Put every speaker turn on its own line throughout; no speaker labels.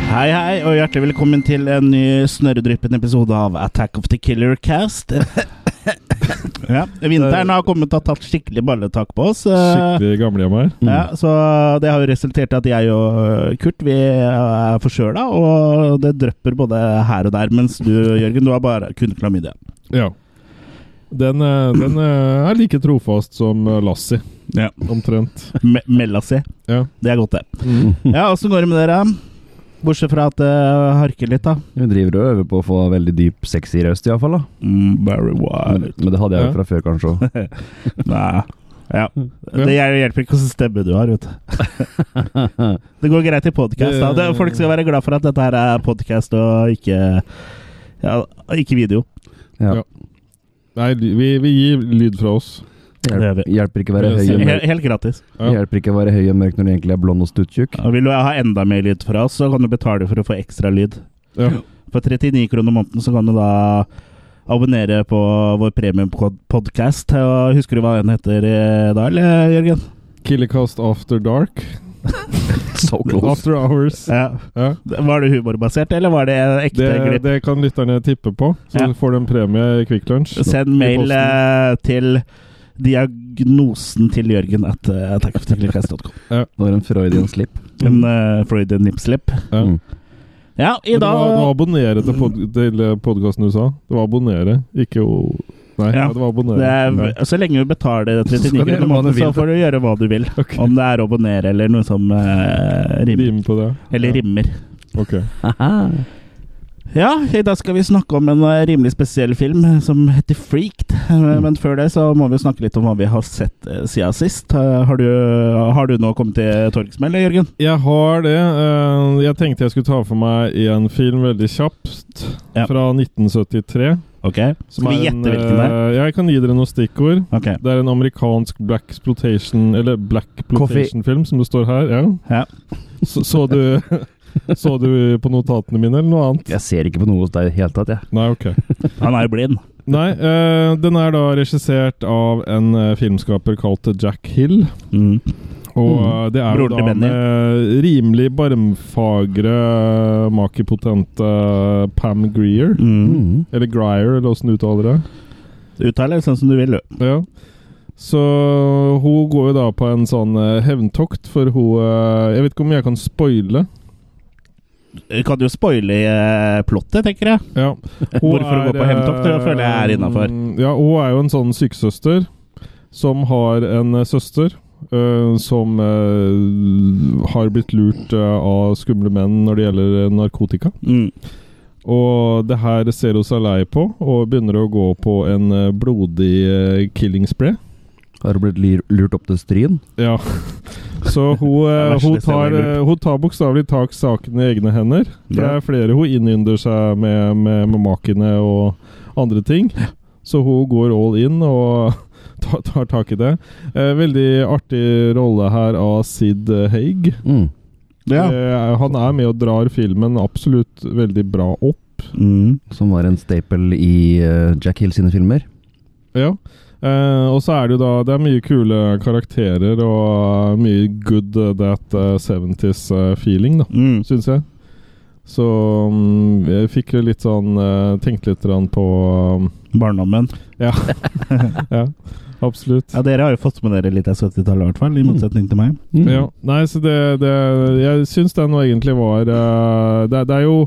og hjertelig velkommen til en ny snørredryppende episode av Attack of the Killer Cast. ja, vinteren har kommet og tatt skikkelig balletak på oss. eh,
Skikkelig gamlehjem her.
Ja, så det har jo resultert i at jeg og eh, Kurt vi er forkjøla, og det drypper både her og der. Mens du, Jørgen, du har bare kun klamydia.
Ja. Den, eh, den eh, er like trofast som eh, Lassie,
Ja.
omtrent.
Me Melda si.
Ja.
Det er godt, det. Ja, Åssen går det med dere? Bortsett fra at det harker litt, da.
Hun driver og øver på å få veldig dyp, sexy røst, iallfall.
Mm, very
Men,
wild.
men det hadde jeg jo
Ja.
fra før, kanskje òg.
Nei. Mm. Ja. Det hjel- hjelper ikke hvilken stemme du har, vet du. Det går greit i podkast. Folk skal være glad for at dette her er podkast og ikke ja, ikke video.
Ja.
Ja. Nei, vi, vi gir lyd fra oss.
Hjelper, hjelper ikke å være høy og
Helt,
mørk.
helt gratis.
Ja.
Hjelper ikke å være høy og mørk når du egentlig er blond og stuttjukk.
Og vil du ha enda mer lyd fra oss, så kan du betale for å få ekstra lyd.
Ja.
For 39 kroner måneden så kan du da abonnere på vår premiumpodkast. Husker du hva den heter eh, da, eller, Jørgen?
Killercast After Dark.
So
After Hours.
Ja.
Ja.
Var det humorbasert, eller var det ekte
Det,
glipp?
det kan lytterne tippe på, så
Ja.
får de en premie i Quick Lunch.
Send mail eh, til diagnosen til Jørgen at eh, attackoftheclicast.com.
Når en freudian slip.
En eh, Freudian nipslip.
Ja.
Mm.
Ja, i
Men Det var, det var
dag
abonnere til, pod til podkasten du sa. Det var abonnere, ikke å Nei,
Ja.
ja. det var abonnere.
det
Ja.
er, Så lenge du betaler
Så skal
39
du
kroner i
gjøre hva du
måneden, så
vil.
får du gjøre hva du vil.
Ok.
Om det er å abonnere eller noe som eh, rimer.
Lim på det.
Eller rimmer.
Ok.
Ja, i dag skal vi snakke om en eh, rimelig spesiell film som heter Freaked. Eh, Men før det så må vi jo snakke litt om hva vi har sett eh, siden sist. Eh, Har du, har du nå kommet til torgsmell, Jørgen?
Jeg har det. Eh, Jeg tenkte jeg skulle ta for meg en film veldig kjapt.
Ja.
Fra 1973.
Ok.
som
Skal vi
er en,
gjette hvilken det er?
eh, Jeg kan gi dere noen stikkord.
Ok.
Det er en amerikansk black exploitation Eller black exploitation-film, som det står her. Ja.
Ja.
Så, så du Så du på notatene mine, eller noe annet?
Jeg ser ikke på noe hos deg i det hele tatt, jeg.
Nei, ok.
Han er jo blind.
Nei, eh, den er da regissert av en eh, filmskaper kalt Jack Hill.
Mm.
Og
Mhm.
eh, det er jo
Broren til
da
Benny.
med rimelig barmfagre, makipotente Pam Greer.
Mm.
Mm.
Eller Greyer, eller åssen du uttaler det.
Uttale sånn som du vil, du.
Ja. Så hun går jo da på en sånn eh, hevntokt, for hun eh, Jeg vet ikke om jeg kan spoile.
Kan jo spoile eh, plottet, tenker jeg.
Ja.
Hvorfor å gå på hevntokt? Det føler jeg er innafor.
eh, Ja, hun er jo en sånn sykesøster som har en eh, søster eh, som eh, har blitt lurt eh, av skumle menn når det gjelder eh, narkotika.
Mm.
Og det her ser hun seg lei på, og begynner å gå på en eh, blodig eh, killing spree.
Har du blitt lyr- lurt opp til Stryn?
Ja. Så hun,
er
eh,
verste
hun tar,
stedet jeg
eh, hun tar bokstavelig tak saken i egne hender. For det
Ja.
er flere hun innynder seg med, med, med makene og andre ting. Så hun går all in og tar, tar tak i det. Eh, veldig artig rolle her av Sid Haig.
Mm.
Eh, han er med og drar filmen absolutt veldig bra opp.
Mm.
Som var en staple i eh, Jack Hill sine filmer.
Ja. Eh, og så er det jo da Det er mye kule karakterer og mye good eh, that eh, 70s eh, feeling, da.
Mm.
syns jeg. Så mm, jeg fikk jo litt sånn eh, Tenkte litt grann på
Barndommen.
eh, Ja, absolutt.
Ja, dere har jo fått med dere litt av 70-tallet, i hvert fall. I
Mm.
motsetning til meg.
Mm.
Ja, nei, så det, det Jeg syns den nå egentlig var eh, det, det er jo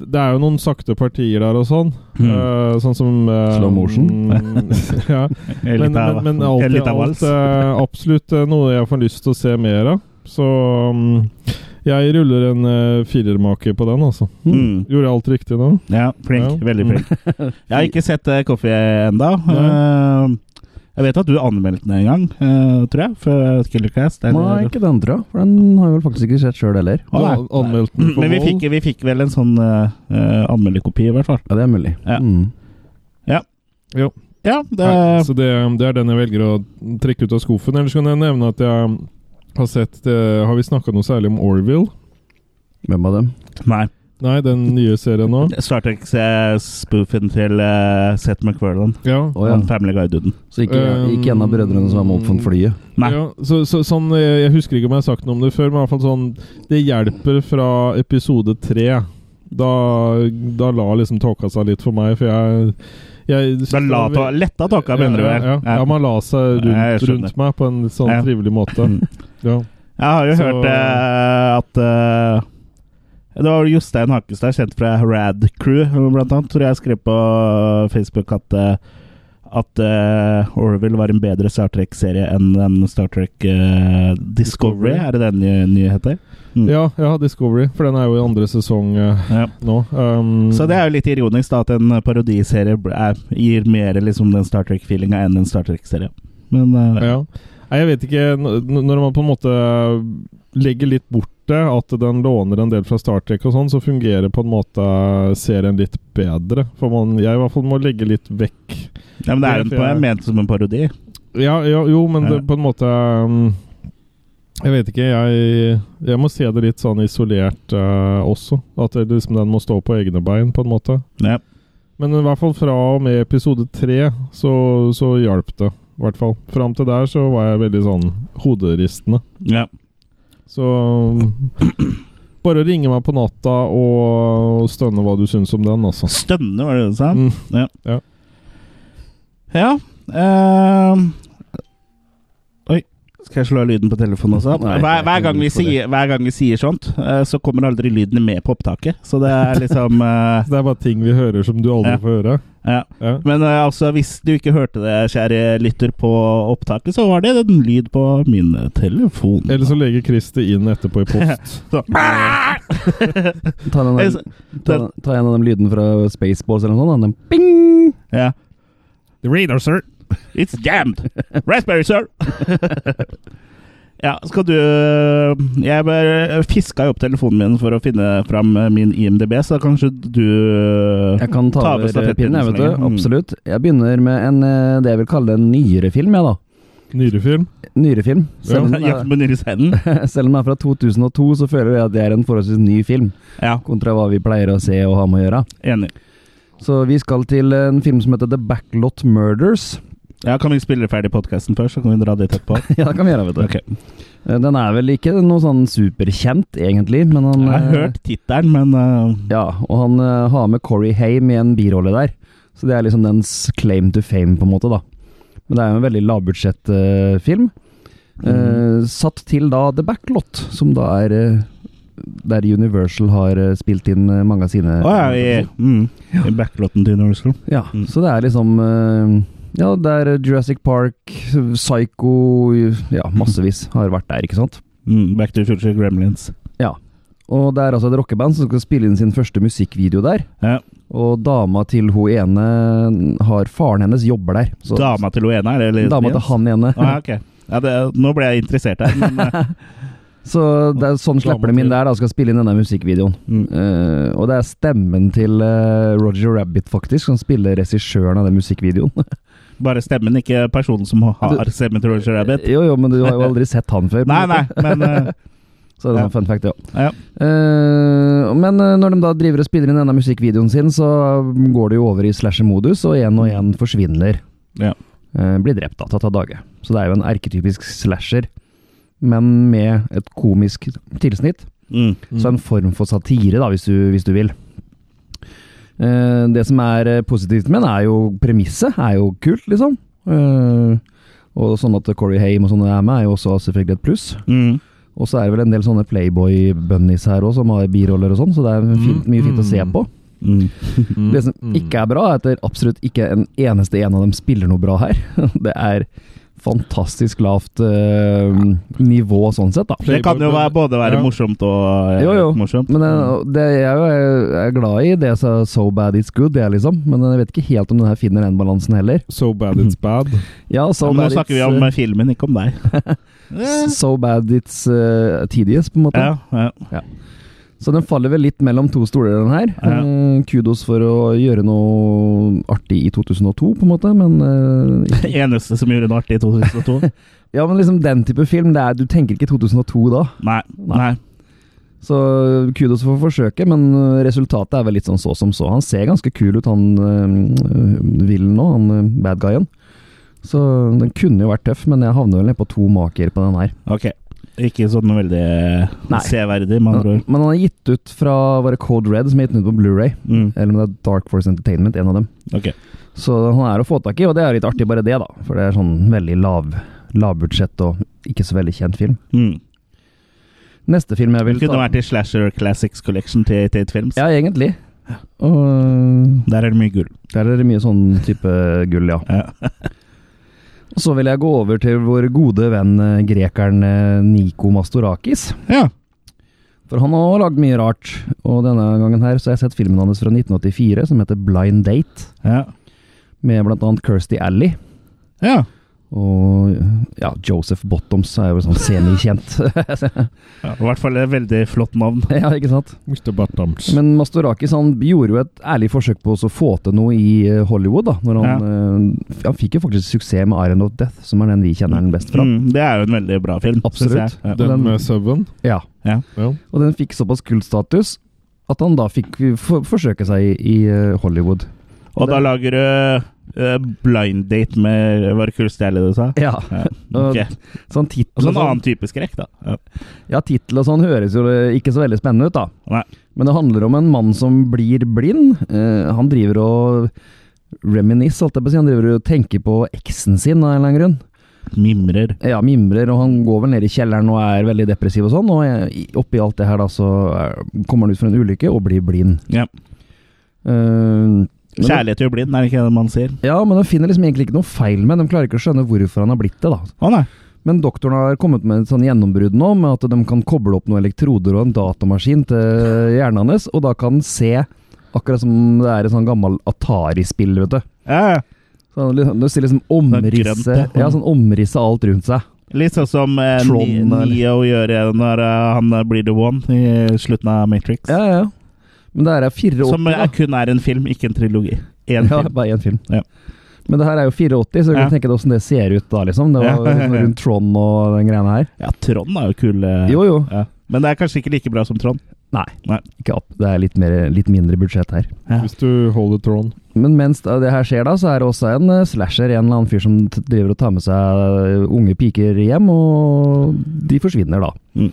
det er jo noen sakte partier der og sånn. eh, sånn som eh,
Mm. Slow motion?
mm, ja.
Jeg er
Men,
litt av-
men, men
jeg er
alt i
litt av
alt
vals.
eh, absolutt eh, noe jeg får lyst til å se mer av. Så mm, jeg ruller en uh, firermaker på den, altså.
Mm.
Gjorde jeg alt riktig nå?
Ja, flink.
Ja.
Veldig flink. Jeg har ikke sett eh, Coffee ennå. jeg vet at du anmeldte den en gang, eh, tror jeg, for Killercast.
Nei,
Eller?
ikke den, tror jeg. For den har jeg vel faktisk ikke sett sjøl heller.
Å, nei. Mm,
An- Anmeldt den for
Men vi
vold.
fikk, vi fikk vel en sånn eh, eh, anmelderkopi, i hvert fall.
Ja, det er mulig.
Ja.
Mm.
Jo.
Ja, det,
Nei, så det, det er den jeg velger å trekke ut av skuffen. Ellers kan jeg nevne at jeg har sett eh, Har vi snakka noe særlig om Orville?
Hvem av dem?
nei.
Nei, den nye serien nå?
Star Trek-spoofen til eh, Seth MacFarlane.
Ja.
Å ja.
Han Family Guy-duden.
Så ikke, ikke en av brødrene som er med opp for flyet?
Nei.
ja så, så, sånn, eh, jeg husker ikke om jeg har sagt noe om det før, men i hvert fall sånn Det hjelper fra episode tre Da, da la liksom tåka seg litt for meg, for jeg, jeg
Da la ta, letta tåka, mener du
ja,
vel?
ja, ja. ja, man la
Jeg
seg rundt,
skjønner.
rundt meg på en litt sånn
Ja.
trivelig måte.
Mm.
Ja.
Jeg har jo
Så-
hørt eh, at eh, Det var Jostein Hakestad, kjent fra Rad Crew, blant annet, tror jeg skrev på Facebook at eh, at eh, Orville var en bedre Star Trek-serie enn den Star Trek eh, Discovery.
Discovery.
Er det den nye nyheter? Mm.
Ja, ja, Discovery, for den er jo i andre sesong eh,
Ja.
nå. Um,
Mm.
Så det er jo litt ironisk da at en parodiserie bl- er, gir mer liksom den Star Trek-feelinga enn en Star Trek-serie. Men eh,
Ja. Nei, jeg vet ikke n- n- Når man på en måte legger litt bort det, at den låner en del fra Star Trek og sånn, så fungerer på en måte serien litt bedre. For man, jeg i hvert fall må legge litt vekk
ja, men det er jo en-
Det
det
er-
er ment som en parodi.
Ja, ja jo, men
Ja.
det, på en måte um, Jeg vet ikke. Jeg, jeg må se det litt sånn isolert eh, også. At det, liksom, den må stå på egne bein, på en måte.
Ja.
Men i hvert fall fra og med episode tre så, så hjalp det. I hvert fall. Fram til der så var jeg veldig sånn hoderistende.
Ja.
Så bare ringe meg på natta og stønne hva du syns om den, altså.
Stønne, var det det du sa?
Mm.
Ja. ehm. oi. Skal jeg slå av lyden på telefonen også?
Nei,
hver,
jeg
hver,
kan
gang
gå
vi
for det.
sier, hver gang vi sier sånt, eh, så kommer aldri lydene med på opptaket. Så det er liksom eh,
Det er bare ting vi hører som du aldri
Ja.
får høre.
ja.
Ja.
Men eh, altså, hvis du ikke hørte det, kjære lytter, på opptaket, så var det en lyd på min eh, telefon.
Eller så legger Chris det inn etterpå i post.
Så. eh,
Ta, den
Jeg
der,
s-
ta,
den-
ta en av de lydene fra Spaceballs eller noe sånt. da. Den ping!
Ja.
The radar, sir.
It's jammed! Raspberry, sir! ja, skal du eh, Jeg bare fiska jo opp telefonen min for å finne fram eh, min IMDb, så kanskje du eh,
Jeg kan ta,
Ta over
over
stafettpinnen
pinnen,
så
jeg, vet du.
lenge. Mm.
Absolutt. Jeg begynner med en, eh, det jeg vil kalle en nyere film, jeg, da.
Nyrefilm.
Nyere film. Selv om, den
eh,
Jakt på Nyresteinen?
er, selv om den er fra 2002, så føler jeg at det er en forholdsvis ny film,
Ja,
kontra hva vi pleier å se og ha med å gjøre.
enig.
Så vi skal til en film som heter The Backlot Murders.
Ja, Kan vi spille ferdig podkasten først, så kan vi dra dit etterpå?
ja, det kan vi gjøre, vet du.
Ok.
Eh, Den er vel ikke noe sånn superkjent, egentlig, men han
Jeg har
eh,
hørt tittelen, men eh,
Ja, og han eh, har med Corey Haim i en birolle der. Så det er liksom dens claim to fame, på en måte, da. Men det er jo en veldig lavbudsjettfilm.
Eh,
Mhm.
Eh, satt til da The Backlot, som da er eh, der Universal har eh, spilt inn eh, mange av sine
Å ja, i, mm, i backlotten til Universal.
Ja,
Mm.
så det er liksom eh, Ja, det er Jurassic Park, Psycho Ja, massevis har vært der, ikke sant?
Mm, Back to the Future Gremlins.
Og det er altså et rockeband som skal spille inn sin første musikkvideo der.
Ja,
Og dama til hun ene har Faren hennes jobber der. Så,
dama til hun ene, er det? eller-
dama til han ene.
Ah, ok. Ja, det, nå ble jeg interessert her. Men, eh,
Så det er sånn
Dama
slipper de
til-
inn der, da. Skal spille inn denne musikkvideoen.
mm.
Eh, og det er stemmen til eh, Roger Rabbit, faktisk, som spiller regissøren av den musikkvideoen.
Bare stemmen, ikke personen som har
Du- Eh,
stemmen til Roger Rabbit.
jo, jo, men du har jo aldri sett han før. på en
Nei,
måte.
nei, men eh,
Så det er
Ja.
en fun fact, ja.
Ja.
Eh, men eh, når de da driver og spiller inn denne musikkvideoen sin, så um, går det jo over i slasher-modus, og én og én forsvinner.
Ja.
Eh, blir drept, da, tatt av dage. Så det er jo en erketypisk slasher, men med et komisk tilsnitt.
mm.
Så en form for satire, da, hvis du, hvis du vil. Eh, det som er eh, positivt med den, er jo premisset. Er jo kult, liksom. Eh, og sånn at Corey Haim og sånne er med, er jo også selvfølgelig et pluss.
Mm.
Og så er det vel en del sånne Playboy-bunnies her òg, som har biroller og sånn, så det er fint, mye fint å se på.
Mm.
Mm.
Det som liksom ikke er bra, er at det absolutt ikke en eneste en av dem spiller noe bra her. Det er fantastisk lavt eh, nivå sånn sett, da.
Det kan jo være, både være
Ja.
morsomt og eh,
Jo, jo.
morsomt. Mm.
Men eh, det, jeg er jo jeg er glad i det så, so bad it's good, jeg, liksom. Men jeg vet ikke helt om den her finner den balansen heller.
So bad it's bad.
Ja, so
Ja, men nå
bad
snakker vi
it's,
om
eh,
eh, filmen, ikke om deg. Eh,
So bad it's eh, tedious, på en måte.
ja, ja.
Så den faller vel litt mellom to stoler, den her.
Ja.
Eh, Kudos for å gjøre noe artig i 2002, på en måte, men eh,
Det eneste som gjorde noe artig i 2002.
Ja, men liksom den type film, det er, du tenker ikke 2002 da.
Nei. nei.
Så eh, kudos for forsøket, men eh, resultatet er vel litt sånn så som så. Han ser ganske kul ut, han uh, villen nå, han eh, bad guyen. Så den kunne jo vært tøff, men jeg havner vel ned på to maker på den her.
Ok. Ikke sånn veldig
Nei.
severdig, med andre
Men
ord.
men han er gitt ut fra var det Code Red, som er gitt ut på Blu-ray.
Mm.
Eller om det er Dark Force Entertainment, en av dem.
Ok.
Så han er å få tak i, og det er jo litt artig bare det, da. For det er sånn veldig lav lavbudsjett og ikke så veldig kjent film.
Mm.
Neste film jeg
Det
vil
kunne vært i Slasher Classics Collection til Tate Films.
Ja, egentlig. Og eh,
Der er det mye gull.
der er det mye sånn type gull, ja.
Ja.
Og så vil jeg gå over til vår gode venn eh, grekeren eh, Niko Mastorakis.
ja.
For han har lagd mye rart, og denne gangen her så har jeg sett filmen hans fra 1984 som heter Blind Date,
ja.
med blant annet Kirsty Alley.
ja.
Og ja, Joseph Bottoms er jo sånn semikjent.
I hvert fall et veldig flott navn.
ja, ikke sant?
Mr. Buttams.
Men Mastorakis han gjorde jo et ærlig forsøk på å få til noe i eh, Hollywood. da når Han, eh, f- han fikk jo faktisk suksess med 'Iron of Death', som er den vi kjenner den best fra.
Mm, det er jo en veldig bra film.
Absolutt.
synes jeg. Ja.
Den
den-
med Seven.
Ja,
Ja.
Og den fikk såpass kultstatus at han da fikk for forsøke seg i, i eh, Hollywood.
Og da lager du eh, blind date med Var det Kulstjerne du sa?
Ja.
Ja.
Og
Ok.
Sånn tittel
Altså
og
en
sånn,
annen type skrekk, da. Ja.
ja, tittel og sånn høres jo eh, ikke så veldig spennende ut, da.
Nei.
Men det handler om en mann som blir blind. Eh, han driver og reminisce, holdt jeg på å si. Han driver og tenker på eksen sin av en eller annen grunn.
Mimrer.
Ja, mimrer, og han går vel ned i kjelleren og er veldig depressiv og sånn. Og eh, i- oppi alt det her, da, så eh, kommer han ut for en ulykke og blir blind.
Ja.
Eh, men-
Kjærlighet gjør blind, er det ikke det man sier?
Ja, men de finner liksom egentlig ikke noe feil med. De klarer ikke å skjønne hvorfor han har blitt det, da.
Å nei.
Men doktoren har kommet med et sånn gjennombrudd nå, med at de kan koble opp noen elektroder og en datamaskin til hjernen hans, og da kan han se Akkurat som det er et sånn gammel Atari-spill, vet du.
Ja, ja.
Så han liksom, du ser
Sånn
liksom
grønt,
omrisse,
ja.
ja, sånn omrisse av alt rundt seg.
Litt sånn som eh,
Tron,
Ni-
eller?
Neo gjør eh, når eh, han blir the one i slutten av Matrix.
Ja, ja, ja. Men det her er 84,
Som eh,
da.
kun er en film, ikke en trilogi. En
Ja,
film.
bare én film.
Ja.
Men det her er jo 84, så du
Ja.
kan tenke deg åssen det ser ut da, liksom. Det
Ja.
var liksom rundt Trond og den greiene her.
Ja, Trond er jo kul. eh,
Jo, jo.
Ja. Men det er kanskje ikke like bra som Trond.
Nei,
Nei.
ikke opp. Det er litt, mer, litt mindre budsjett her.
Ja.
Hvis du holder tråden.
Men mens da det her skjer, da, så er det også en eh, slasher, en eller annen fyr som t- driver og tar med seg eh, unge piker hjem, og de forsvinner da.
Mm.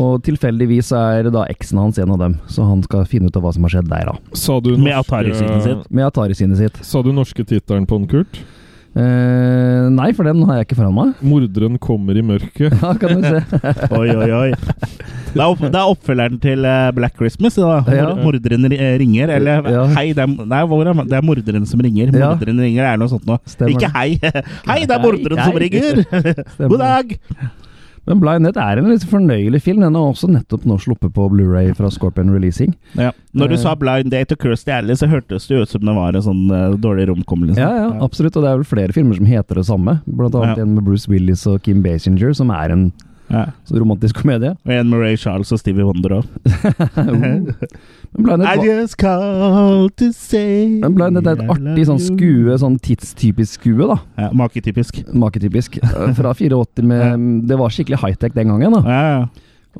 Og tilfeldigvis er da eksen hans en av dem, så han skal finne ut av hva som har skjedd der, da.
Sa du
Med Atari-skiten sin.
Med Atari-synet sitt.
Sa du norske tittelen på den, Kurt?
Eh, nei, for den har jeg ikke foran meg.
'Morderen kommer i mørket'.
Ja, kan du se.
Oi, oi, oi. Det er, opp, det er oppfølgeren til eh, Black Christmas. Da. Mor-
Ja.
Morderen ri- eh, ringer, eller
Ja.
hei, det er, nei, hvor er, det er morderen som ringer.
Ja.
Morderen ringer er noe sånt nå.
Stemmer
Ikke
det.
hei. Hei, det er morderen
Hei,
som
hei.
ringer!
Stemmer.
God dag!
Men Blind Net er en litt fornøyelig film. Den er også nettopp nå sluppet på Blu-ray fra Scorpion Releasing.
Ja. Når du
Eh.
sa Blind Date og Kirsty Alley, så hørtes det ut som det var en sånn eh, dårlig romkommelse.
Ja, ja, absolutt. Og det er vel flere filmer som heter det samme. Blant annet
Ja.
en med Bruce Willis og Kim Basinger, som er en
Ja.
romantisk komedie. Oh.
Og en med Ray Charles og Stevie Wonder òg.
Men Blinded
I
var-
just call to say
men Blinded er et
I
artig sånn
love you.
skue, sånn tidstypisk skue, da.
Ja, Maketypisk.
Maketypisk. Eh, Fra 84 med Det var skikkelig high-tech den gangen, da.
Ja, ja.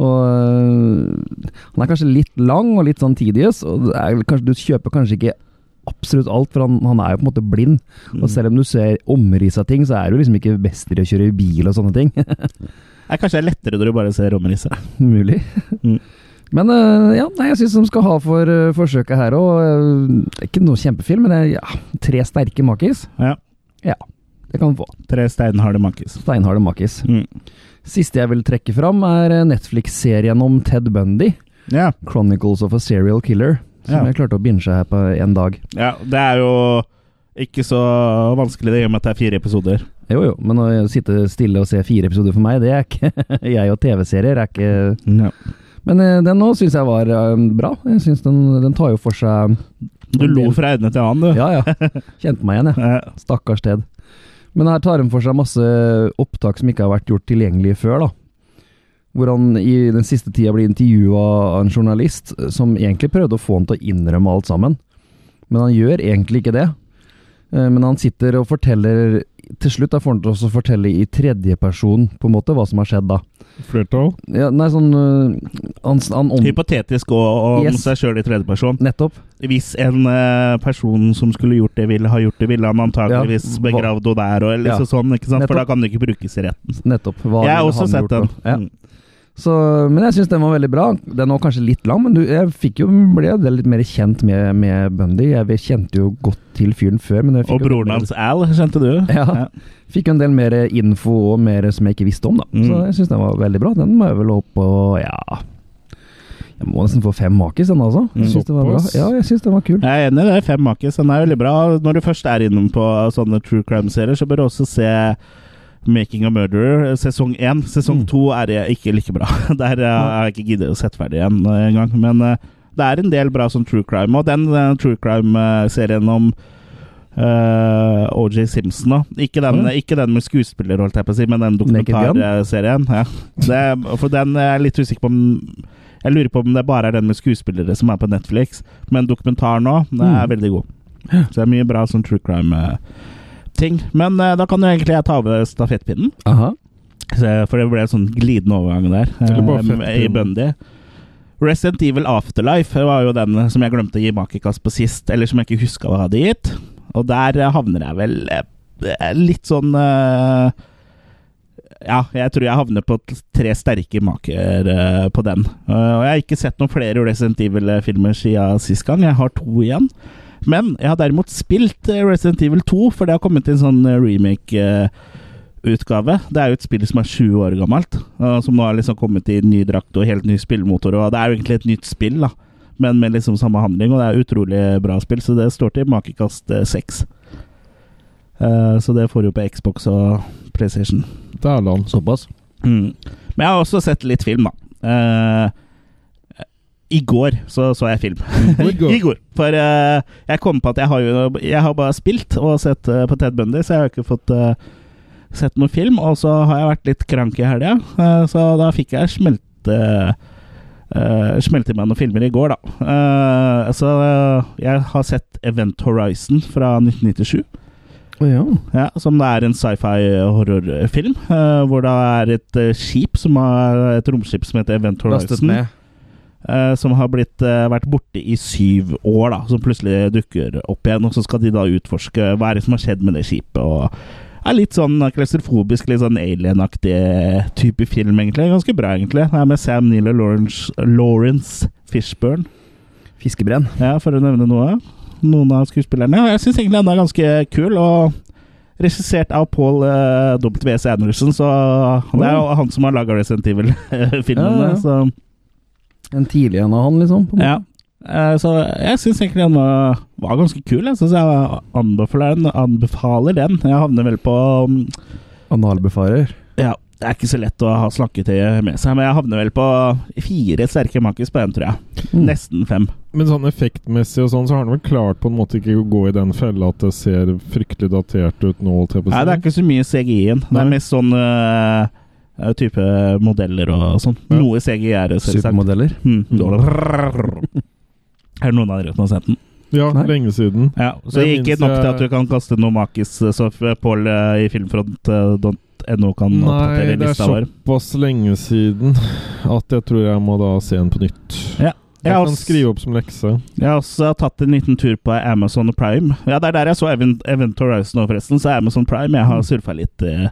Og eh, han er kanskje litt lang og litt sånn tidious, og det er, vel kanskje, du kjøper kanskje ikke absolutt alt, for han, han er jo på en måte blind.
Mm.
Og selv om du ser omriss av ting, så er du liksom ikke best til å kjøre bil og sånne ting.
Det er kanskje lettere når du bare ser rommerisset.
Mulig.
Mm.
Men eh, ja, nei, jeg syns de skal ha for eh, forsøket her òg. Det er ikke noe kjempefilm, men det er ja, tre sterke makis.
Ja.
Det kan vi få.
Tre steinharde mankis.
Steinharde makis.
Mm.
Siste jeg vil trekke fram, er eh, Netflix-serien om Ted Bundy.
Ja.
'Chronicles of a Serial Killer'. Som
Ja.
jeg klarte å binge her på én dag.
ja. Det er jo ikke så vanskelig, det i og med at det er fire episoder.
Jo jo, men å sitte stille og se fire episoder for meg, det er ikke Jeg og TV-serier er ikke Men eh, den nå syns jeg var eh, bra. Jeg synes den, den tar jo for seg
Du lo fra ende til annen, du.
Ja ja, kjente meg igjen, jeg.
Ja.
Stakkars Ted. Men her tar de for seg masse opptak som ikke har vært gjort tilgjengelige før. da. Hvor han i den siste tida blir intervjua av en journalist eh, som egentlig prøvde å få han til å innrømme alt sammen. Men han gjør egentlig ikke det. Eh, Men han sitter og forteller Til slutt da får han til også å fortelle i tredjeperson på en måte hva som har skjedd da.
Flertall.
Ja, nei, sånn eh, Han, han om...
Hypotetisk og og om
Yes.
seg sjøl i tredjeperson.
Nettopp.
Hvis en eh, person som skulle gjort det, ville ha gjort det, ville han antakeligvis
Ja. Hva-
begravd henne der, og eller
Ja.
så sånn, ikke sant? for da
Nettopp.
kan det ikke brukes i retten.
nettopp. Hva
Jeg har
ville
også
han
sett
gjort
den.
da? Ja.
Mm.
Så, men jeg syns den var veldig bra. Den var kanskje litt lang, men du, jeg fikk jo, ble jo litt mer kjent med, med Bundy. Jeg kjente jo godt til fyren før. Men jeg fikk
Og
jo en
broren
del-
hans Al, kjente du?
Ja. Fikk jo en del mer info og mer som jeg ikke visste om, da.
Mm.
Så jeg syns den var veldig bra. Den må jeg vel opp på ja Jeg må nesten få fem makis, den altså.
Mm.
Jeg synes den var bra.
Såpass.
Ja, jeg syns den var kul.
Jeg er enig, det er fem makis. Den er veldig bra. Når du først er innom på sånne true crime-serier, så bør du også se Making a Murderer eh, sesong én. Sesong
Mm.
to er jeg ikke like bra. Der eh, har jeg ikke giddet å sette ferdig igjen eh, engang. Men eh, det er en del bra sånn true crime, og den eh, true crime-serien om eh, OJ Simpson, da. Ikke den,
Ja.
ikke den med skuespiller, holdt jeg på å si, men den
Naked Gun?
dokumentarserien. Ja. Det, for den er jeg litt usikker på om Jeg lurer på om det bare er den med skuespillere som er på Netflix. Men dokumentaren òg er
Mm.
veldig god. Så det er mye bra sånn true crime-ting. Men eh, da kan jo egentlig jeg ta over stafettpinnen.
Aha.
Så- For det ble en sånn glidende overgang der.
Det er bare
eh,
fett,
I Bundy. Resident Evil Afterlife var jo den eh, som jeg glemte å gi makekast på sist, eller som jeg ikke huska hva jeg hadde gitt. Og der eh, havner jeg vel eh, litt sånn eh, Ja, jeg tror jeg havner på t- tre sterke maker eh, på den. Eh, Og jeg har ikke sett noen flere Resident Evil-filmer siden sist gang. Jeg har to igjen. Men jeg har derimot spilt eh, Resident Evil 2, for det har kommet en sånn eh, remake. eh, utgave. Det er jo et spill som er 20 år gammelt, og som nå har liksom kommet i ny drakt og helt ny spillmotor. Og det er jo egentlig et nytt spill, da, men med liksom samme handling, og det er utrolig bra spill, så det står til makekast eh, 6. Eh, så det får du på Xbox og PlayStation.
Dæland.
Såpass.
Mm. Men jeg har også sett litt film, da. Eh, I går så så jeg film.
I går.
I går. For eh, jeg kom på at jeg har jo Jeg har bare spilt og sett eh, på Ted Bundy, så jeg har ikke fått eh, sett noen film. Og så har jeg vært litt krank i helga, eh, så da fikk jeg smelte eh, smelte i meg noen filmer i går, da. Eh, så eh, jeg har sett Event Horizon fra 1997.
Ja.
Ja, som det er en sci-fi horrorfilm, eh, hvor det er et eh, skip som har et romskip som heter Event
Lastet
Horizon,
ned.
eh, som har blitt, eh, vært borte i syv år, da, som plutselig dukker opp igjen, og så skal de da utforske hva er det som har skjedd med det skipet, og er litt sånn klaustrofobisk, litt sånn alien-aktig eh, type film, egentlig. Ganske bra, egentlig. Det er med Sam Neill og Lawrence, Lawrence Fishburne.
Fiskebrenn.
Ja, for å nevne noe. Noen av skuespillerne. Og jeg syns egentlig han er ganske kul. og Regissert av Paul eh, W.S. Anderson, så det er jo han som har laga Resident
Ja,
Evil-filmene.
ja.
Så,
En tidlig en av han, liksom. På en måte.
ja. Eh, så jeg syns egentlig han var, var ganske kul. Jeg syns jeg anbefaler den. Anbefaler den. Jeg havner vel på mm,
Analbefarer.
Ja, det er ikke så lett å ha snakketøyet med seg, men jeg havner vel på fire sterke makis på den, tror jeg.
Mm.
Nesten fem.
Men sånn effektmessig og sånn, så har han vel klart på en måte ikke å gå i den fella at det ser fryktelig datert ut nå, holdt jeg på å
Nei,
si.
det er ikke så mye CGI-en. Det
Nei.
er mest sånn øh, type modeller og sånn.
Ja.
Noe CGI er det, selvsagt.
Supermodeller.
Mm. Er det noen av dere som har sett den?
Ja,
Nei.
lenge siden.
Ja, så
Jeg
ikke
minnes eh,
nok til at
jeg-
du kan kaste noe makis, øh, så f- Pål øh, i filmfront.no kan
Nei,
oppdatere
det er
lista vår.
såpass lenge siden at jeg tror jeg må da se den på nytt.
Ja.
Jeg
Jeg har
kan
også-
skrive opp som lekse.
Jeg har også tatt en liten tur på Amazon Prime. Ja, det er der jeg så Event, Event Horizon nå, forresten. Så Amazon Prime. Jeg
Mm.
har surfa litt eh,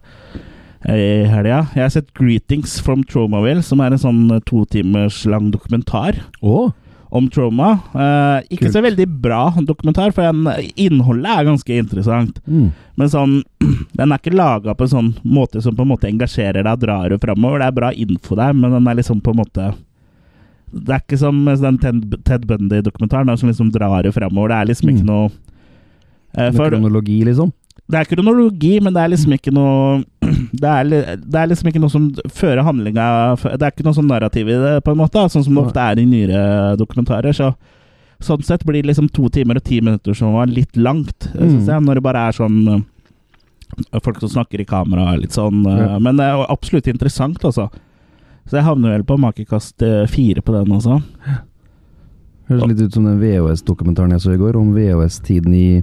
i helga. Jeg har sett 'Greetings from Traumaville', som er en sånn eh, to timers lang dokumentar
Å!
om trauma. Eh, ikke
Kult.
så veldig bra dokumentar, for den, eh, innholdet er ganske interessant.
Mm.
Men sånn, den er ikke laga på en sånn måte som på en måte engasjerer deg og drar deg framover. Det er bra info der, men den er liksom på en måte Det er ikke som den Ted, Ted Bundy-dokumentaren da, som liksom drar deg framover. Det er liksom ikke
Mm.
noe eh,
Med
for,
kronologi, liksom.
Det er kronologi, men det er liksom ikke noe Det er, li- det er liksom ikke noe som fører handlinga Det er ikke noe sånn narrativ i det, på en måte, da, sånn som det ofte er i nyere dokumentarer. så Sånn sett blir det liksom to timer og ti minutter som var litt langt, eh, synes
Mm.
jeg. Når det bare er sånn øh, Folk som snakker i kamera og litt sånn. øh,
Ja.
Men det er jo absolutt interessant, altså. Så jeg havner vel på makekast øh, fire på den også.
Høres litt ut som den VHS-dokumentaren jeg så i går, om VHS-tiden i,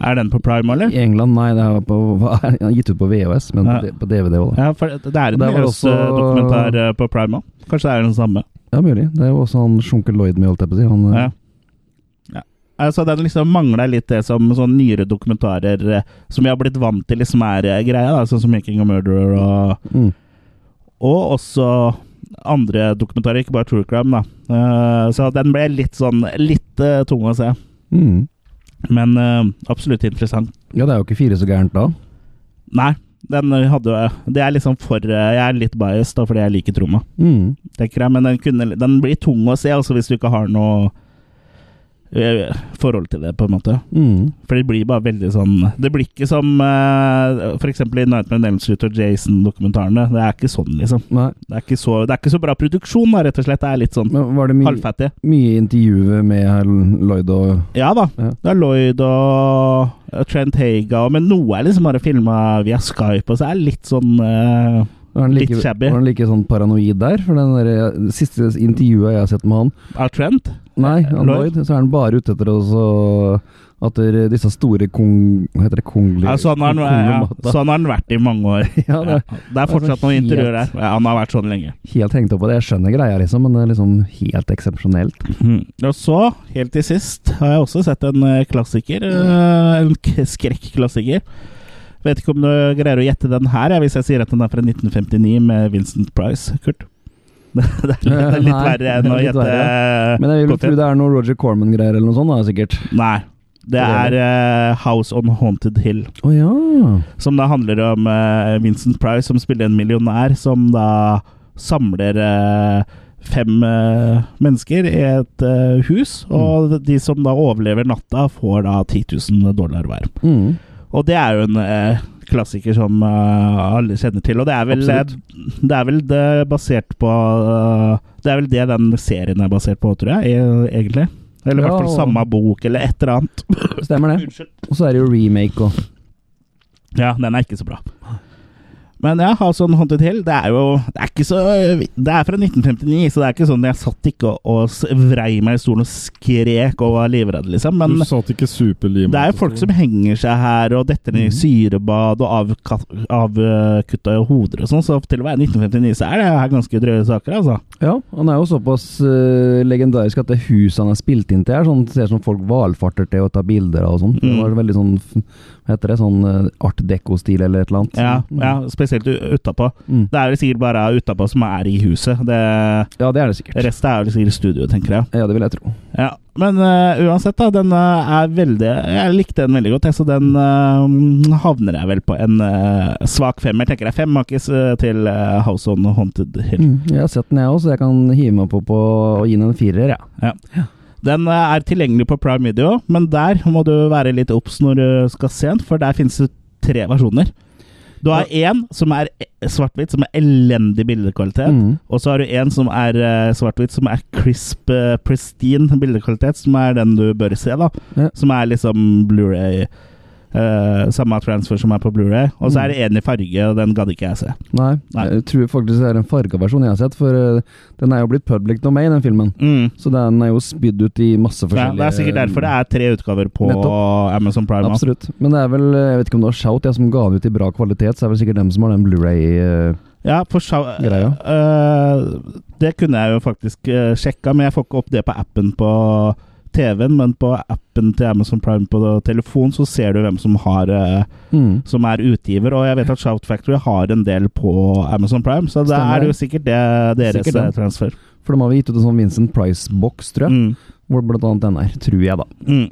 Er den på prime, eller?
i England. Nei, det er på, hva er- ja, gitt ut på VHS, men
Ja.
på, D- på DVD òg, da.
Ja, for det er
Og
en
der var det også-
VHS-dokumentar eh, på prime òg. Kanskje det er den samme.
Ja, mulig. Det er jo også han Sjunke Lloyd med, holdt jeg på å si. Han, eh,
Ja. Ja. Altså, den liksom mangla litt det som sånn nyere dokumentarer eh, som vi har blitt vant til, liksom er eh, greia. da, Sånn som 'Making a Murderer' og
Mm.
Og også andre dokumentarer, ikke bare True Crime, da. Eh, så den ble litt sånn litt eh, tung å se.
Mm.
Men eh, absolutt interessant.
Ja, det er jo ikke fire så gærent da.
Nei, den hadde jo Det er liksom for eh, Jeg er litt biased, da, fordi jeg liker Troma,
Mm.
tenker jeg. Men den, kunne, den blir tung å se, altså, hvis du ikke har noe eh, forhold til det, på en måte.
Mm.
For det blir bare veldig sånn Det blir ikke som eh, for f.eks. i Nightmare on Elm Street og Jason-dokumentarene. Det er ikke sånn, liksom.
Nei,
Det er ikke så, det er ikke så bra produksjon, da, rett og slett. Det er litt sånn
men var det my
halvfattig.
mye intervjuer med herr Lloyd og
Ja da.
Ja.
Det er Lloyd og eh, Trent Haga, og- men noe er liksom bare filma via Skype, og så er det litt sånn eh,
var han like,
Litt shabby.
Var han like sånn paranoid der? For den der, det siste intervjuet jeg har sett med han
Av Trent?
Nei, han
Eh, Lloyd?
Lloyd, så er han bare ute etter oss og at der- disse store kong... Hva heter det? Kongelige
Ja, sånn har han, ja, sånn har han vært i mange år.
Ja, det er
Ja, det er fortsatt noen intervjuer der. Ja, han har vært sånn lenge.
Helt hengt opp på det. Jeg skjønner greia, liksom, men det er liksom helt eksepsjonelt.
Mhm. Og så, helt til sist, har jeg også sett en eh, klassiker. eh, En k- skrekklassiker. Vet ikke om du greier å gjette den her, jeg, hvis jeg sier at den er fra 1959 med Vincent Price, Kurt. Det er litt, det er litt
Nei,
verre enn å
litt
gjette
Men jeg vil
Cocktail.
tro det er noe Roger Corman-greier eller noe sånt, da, sikkert.
Nei. Det er eh, House on Haunted Hill,
Å ja.
som da handler om eh, Vincent Price, som spiller en millionær som da samler eh, fem eh, mennesker i et eh, hus,
Mm.
og de som da overlever natta, får da 10 000 dollar hver.
Mm.
Og det er jo en eh, klassiker som eh, alle kjenner til, og det er vel, eh, det, er vel det basert på eh, Det er vel det den serien er basert på, tror jeg, e- egentlig. Eller i
Ja,
hvert fall
og-
samme bok, eller et eller annet.
Stemmer det.
Unnskyld.
Og så er det jo remake og
Ja, den er ikke så bra. Men ja, House on Haunted Hill, det er jo Det er, ikke så, det er fra 1959, så det er ikke sånn jeg satt ikke og, og s- vrei meg i stolen og skrek og var livredd, liksom. Men
du satt ikke superlimet.
det er jo folk som henger seg her og detter ned i syrebad og avka- avkutta av hoder og sånn, så til å være 1959 så er det her ganske drøye saker, altså.
Ja, han er jo såpass eh, legendarisk at det huset han er spilt inn til, er sånn, ser som folk valfarter til og tar bilder av og sånn. Det
Mm.
var veldig sånn f- Hva heter det? Sånn eh, art deco-stil eller et eller annet.
Ja, ja spesielt u- utapå.
Mm.
Det er vel sikkert bare utapå som er i huset. Det,
ja, det er det sikkert.
resten er vel sikkert studio, tenker jeg.
Ja, det vil jeg tro.
Ja, Men eh, uansett, da. Den eh, er veldig Jeg likte den veldig godt, jeg, så den eh, havner jeg vel på en eh, svak femmer. Tenker jeg fem makis eh, til eh, House on Haunted Hill.
Mm. Jeg har sett den, jeg òg, så jeg kan hive meg på på å gi den en firer, ja.
Den eh, er tilgjengelig på Prime Video, men der må du være litt obs når du skal se den, for der finnes det tre versjoner. Du har én som er e- svart-hvitt, som er elendig bildekvalitet.
Mm.
Og så har du en som er eh, svart-hvitt, som er crisp, eh, pristine bildekvalitet, som er den du bør se, da.
Ja.
Som er liksom Blu-ray eh, Samme transfer som er på Blu-ray Og så er
Mm.
det en i farge, og den gadd ikke jeg se.
Nei,
Nei.
jeg tror faktisk det er en farga versjon jeg har sett, for eh, den er jo blitt public domain, den filmen.
Mm.
Så den er jo spydd ut i
Ja,
masse forskjellige
det er sikkert derfor det er tre utgaver på Amazon Prime. også.
Absolutt. Men det er vel eh, Jeg vet ikke om det var Shout jeg som ga den ut i bra kvalitet, så er det vel sikkert dem som har den Blu-ray eh,
Ja, for sjau-
Greia.
eh, det kunne jeg jo faktisk uh, sjekka, men jeg får ikke opp det på appen på TV-en. Men på appen til Amazon Prime på telefon så ser du hvem som har eh,
mm.
som er utgiver, og jeg vet at Shout Factory har en del på Amazon Prime, så da
Stemmer
er det
det.
jo sikkert det deres
Sikkert det.
eh, transfer.
For de har vel gitt ut en sånn Vincent Price-boks, tror jeg,
Mm.
hvor blant annet den er. Tror jeg, da.
Mm.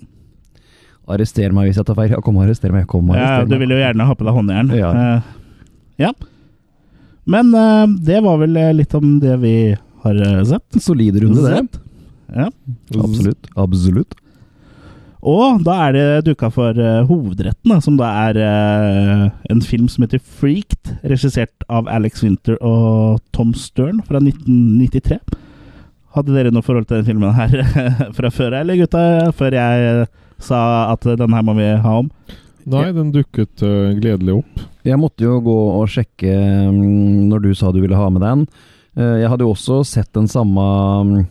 Arrester meg hvis jeg tar feil. Ja, kom og arrester meg. Kom og
Ja,
arrester
du
meg.
vil jo gjerne ha på deg håndjern.
Ja.
Eh, ja. Men eh, det var vel eh, litt om det vi har eh, sett.
Solid runde, det.
Ja.
Absolutt. Absolutt.
Og da er det duka for eh, hovedretten, da, som da er eh, en film som heter Freaked, regissert av Alex Winter og Tom Stern fra 1993. Hadde dere noe forhold til den filmen her fra før, eller gutta? Før jeg eh, sa at den her må vi ha om.
Nei, den dukket øh, gledelig opp.
Jeg måtte jo gå og sjekke mm, når du sa du ville ha med den. Eh, Jeg hadde jo også sett den samme mm,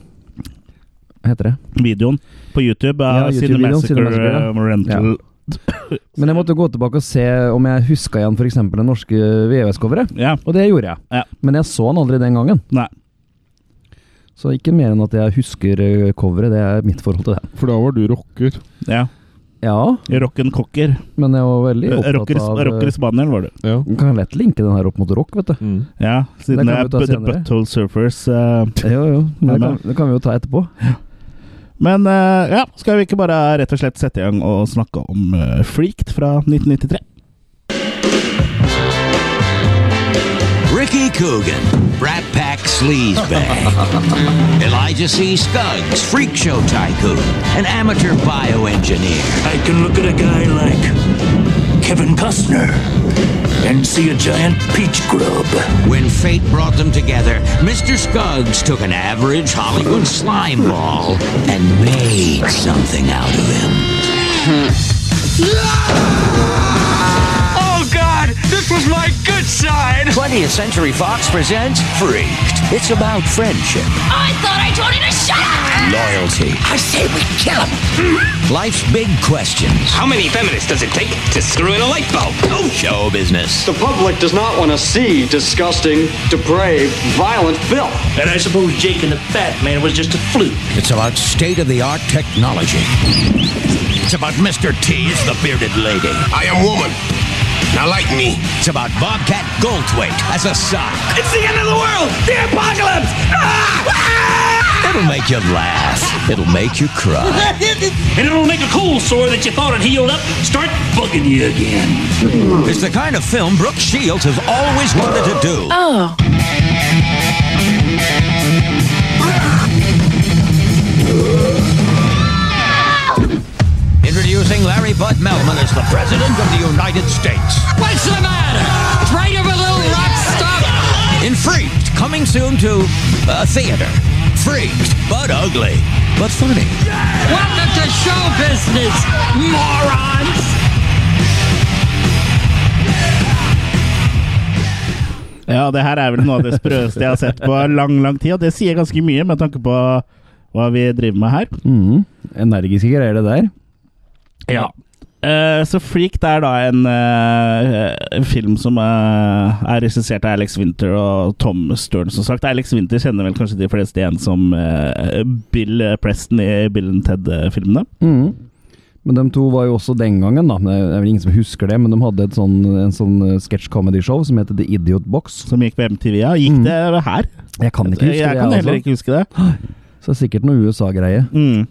Hva heter det?
Videoen på YouTube
Ja,
av
YouTube-videoen,
Cinemassacre
Cinemassacre, ja.
eh, Rental.
Men jeg måtte gå tilbake og se om jeg huska igjen f.eks. det norske VHS-coveret.
Ja.
Og det gjorde jeg.
Ja.
Men jeg så den aldri den gangen.
Nei.
Så ikke mer enn at jeg husker eh, coveret. Det er mitt forhold til det.
For da var du rocker.
ja. Eh,
Ja,
Rock'n'cocker.
men jeg var veldig opptatt
Rocker,
av eh,
rocker Spaniel var det.
Ja.
Du kan lett linke den her opp mot rock, vet du.
Mm.
Ja, siden det
Det kan
er
vi
bu-
ta
The
senere.
Butthole Surfers. eh,
Jo, jo. Men det, kan,
men-
det kan vi jo ta etterpå.
Men eh, ja, skal vi ikke bare rett og slett sette i gang og snakke om eh, Freaked fra 1993?
Ricky Coogan, Brat Pack Sleazebag, Elijah C. Scuggs, Freak Show Tycoon, an amateur bioengineer,
I can look at a guy like Kevin Costner and see a giant peach grub.
When fate brought them together, Mr. Scuggs took an average Hollywood slime ball and made something out of him. Oh, God! This was my good side! 20th Century Fox presents Freaked. It's about friendship,
I thought I told you to shut up!
loyalty,
I said we kill him!
life's big questions,
How many feminists does it take to screw in a light bulb? Oh,
show business.
The public does not want to see disgusting, depraved, violent filth.
And I suppose Jake and the Fat Man was just a fluke.
It's about state of the art technology. It's about Mr. T is the bearded lady.
I am woman. Now like me.
It's about Bobcat Goldthwait as a sock.
it's the end of the world! The apocalypse! Ah!
It'll make you laugh. It'll make you cry.
And it'll make a cold sore that you thought had healed up start bugging you again.
It's the kind of film Brooke Shields has always wanted to do.
Oh.
Introducing Larry Bud Melman as the President of the United States.
What's the matter? Afraid of a little rock stuff?
In Freaked, coming soon to uh, a theater. Freaked, but ugly, but funny.
Welcome to show business, morons!
Ja, det her er vel noe av det sprøeste jeg har sett på lang, lang tid. Og det sier ganske mye med tanke på hva vi driver med her.
Mhm. Energiske greier, det der.
Ja. Eh, så Freaked er da en eh, en film som eh, er regissert av Alex Winter og Tom Stern, som sagt. Alex Winter kjenner vel kanskje de fleste igjen som eh, Bill Preston i Bill and Ted-filmene.
Mhm. Men de to var jo også den gangen, da. Det er vel ingen som husker det, men de hadde et sånn, en sånn sketsj-comedy-show som heter The Idiot Box.
Som gikk på MTV. Ja, gikk det her?
Jeg Mm. kan ikke huske
Jeg
det,
kan heller
altså.
ikke huske det.
Så det er sikkert noe USA-greie.
Mm.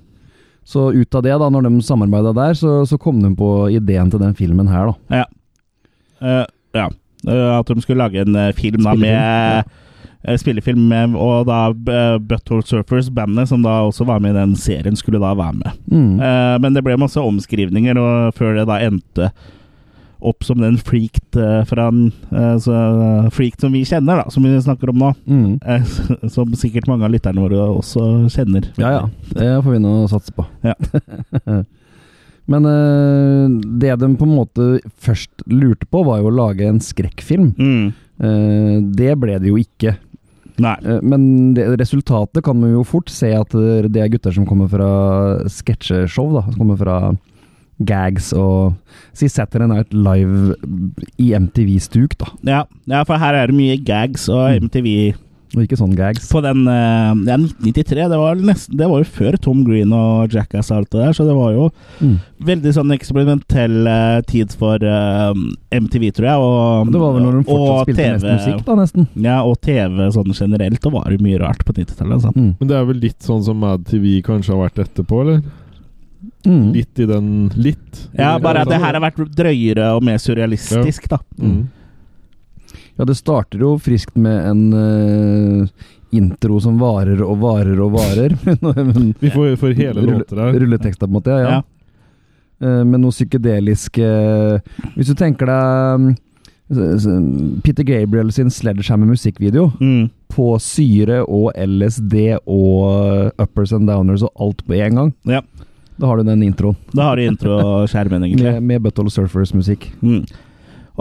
Så ut av det, da, når de samarbeida der, så, så kom de på ideen til den filmen her, da.
Ja. Eh, ja. Eh, at de skulle lage en eh, film da,
Spillefilm,
med
ja.
eh, Spillefilm med, og da eh, Butthole Surfers, bandet som da også var med i den serien, skulle da være med.
Mhm.
Eh, men det ble masse omskrivninger, og før det da endte opp som den freaked, eh, fra, en, eh, så, freaked som vi kjenner, da, som vi snakker om nå.
Mhm.
Eh, som sikkert mange av lytterne våre også kjenner.
Ja, ja. Det får vi nå satse på.
Ja.
Men eh, det de på en måte først lurte på, var jo å lage en skrekkfilm.
Mm.
Eh, det ble det jo ikke.
Nei.
Eh, men det, resultatet kan man jo fort se at eh, det er gutter som kommer fra sketsjeshow, da. Som kommer fra gags og Si Saturday Night Live i MTV-stuk, da.
Ja, ja, for her er det mye gags og
Mm.
MTV
Og ikke sånn gags.
på den eh, Ja, 1993. Det var, vel nesten, det var jo før Tom Green og Jackass og alt det der, så det var jo
Mm.
veldig sånn eksperimentell eh, tid for eh, MTV, tror jeg. Og,
Det var vel når de
og
fortsatt spilte mest musikk, da, nesten.
Ja, og TV sånn generelt. Det var jo mye rart på 90-tallet. Altså.
Mm.
Men det er vel litt sånn som Mad TV kanskje har vært etterpå, eller?
Mm.
Litt i den Litt.
Ja, bare at det her har vært drøyere og mer surrealistisk, da.
Mm.
Ja, det starter jo friskt med en eh, intro som varer og varer og varer. Men-
Vi får, får hele
Rulle-
låter her.
Rulletekster, på en måte, ja. ja.
Ja.
Eh, med noe psykedelisk eh, Hvis du tenker deg mm, s- s- Peter Gabriel sin Sledgehammer musikkvideo
Mm.
på syre og LSD og eh, uppers and downers og alt på én gang.
Ja.
Da har du den introen
Da har du introskjermen, egentlig.
med, med Butthole Surfers-musikk.
Mm.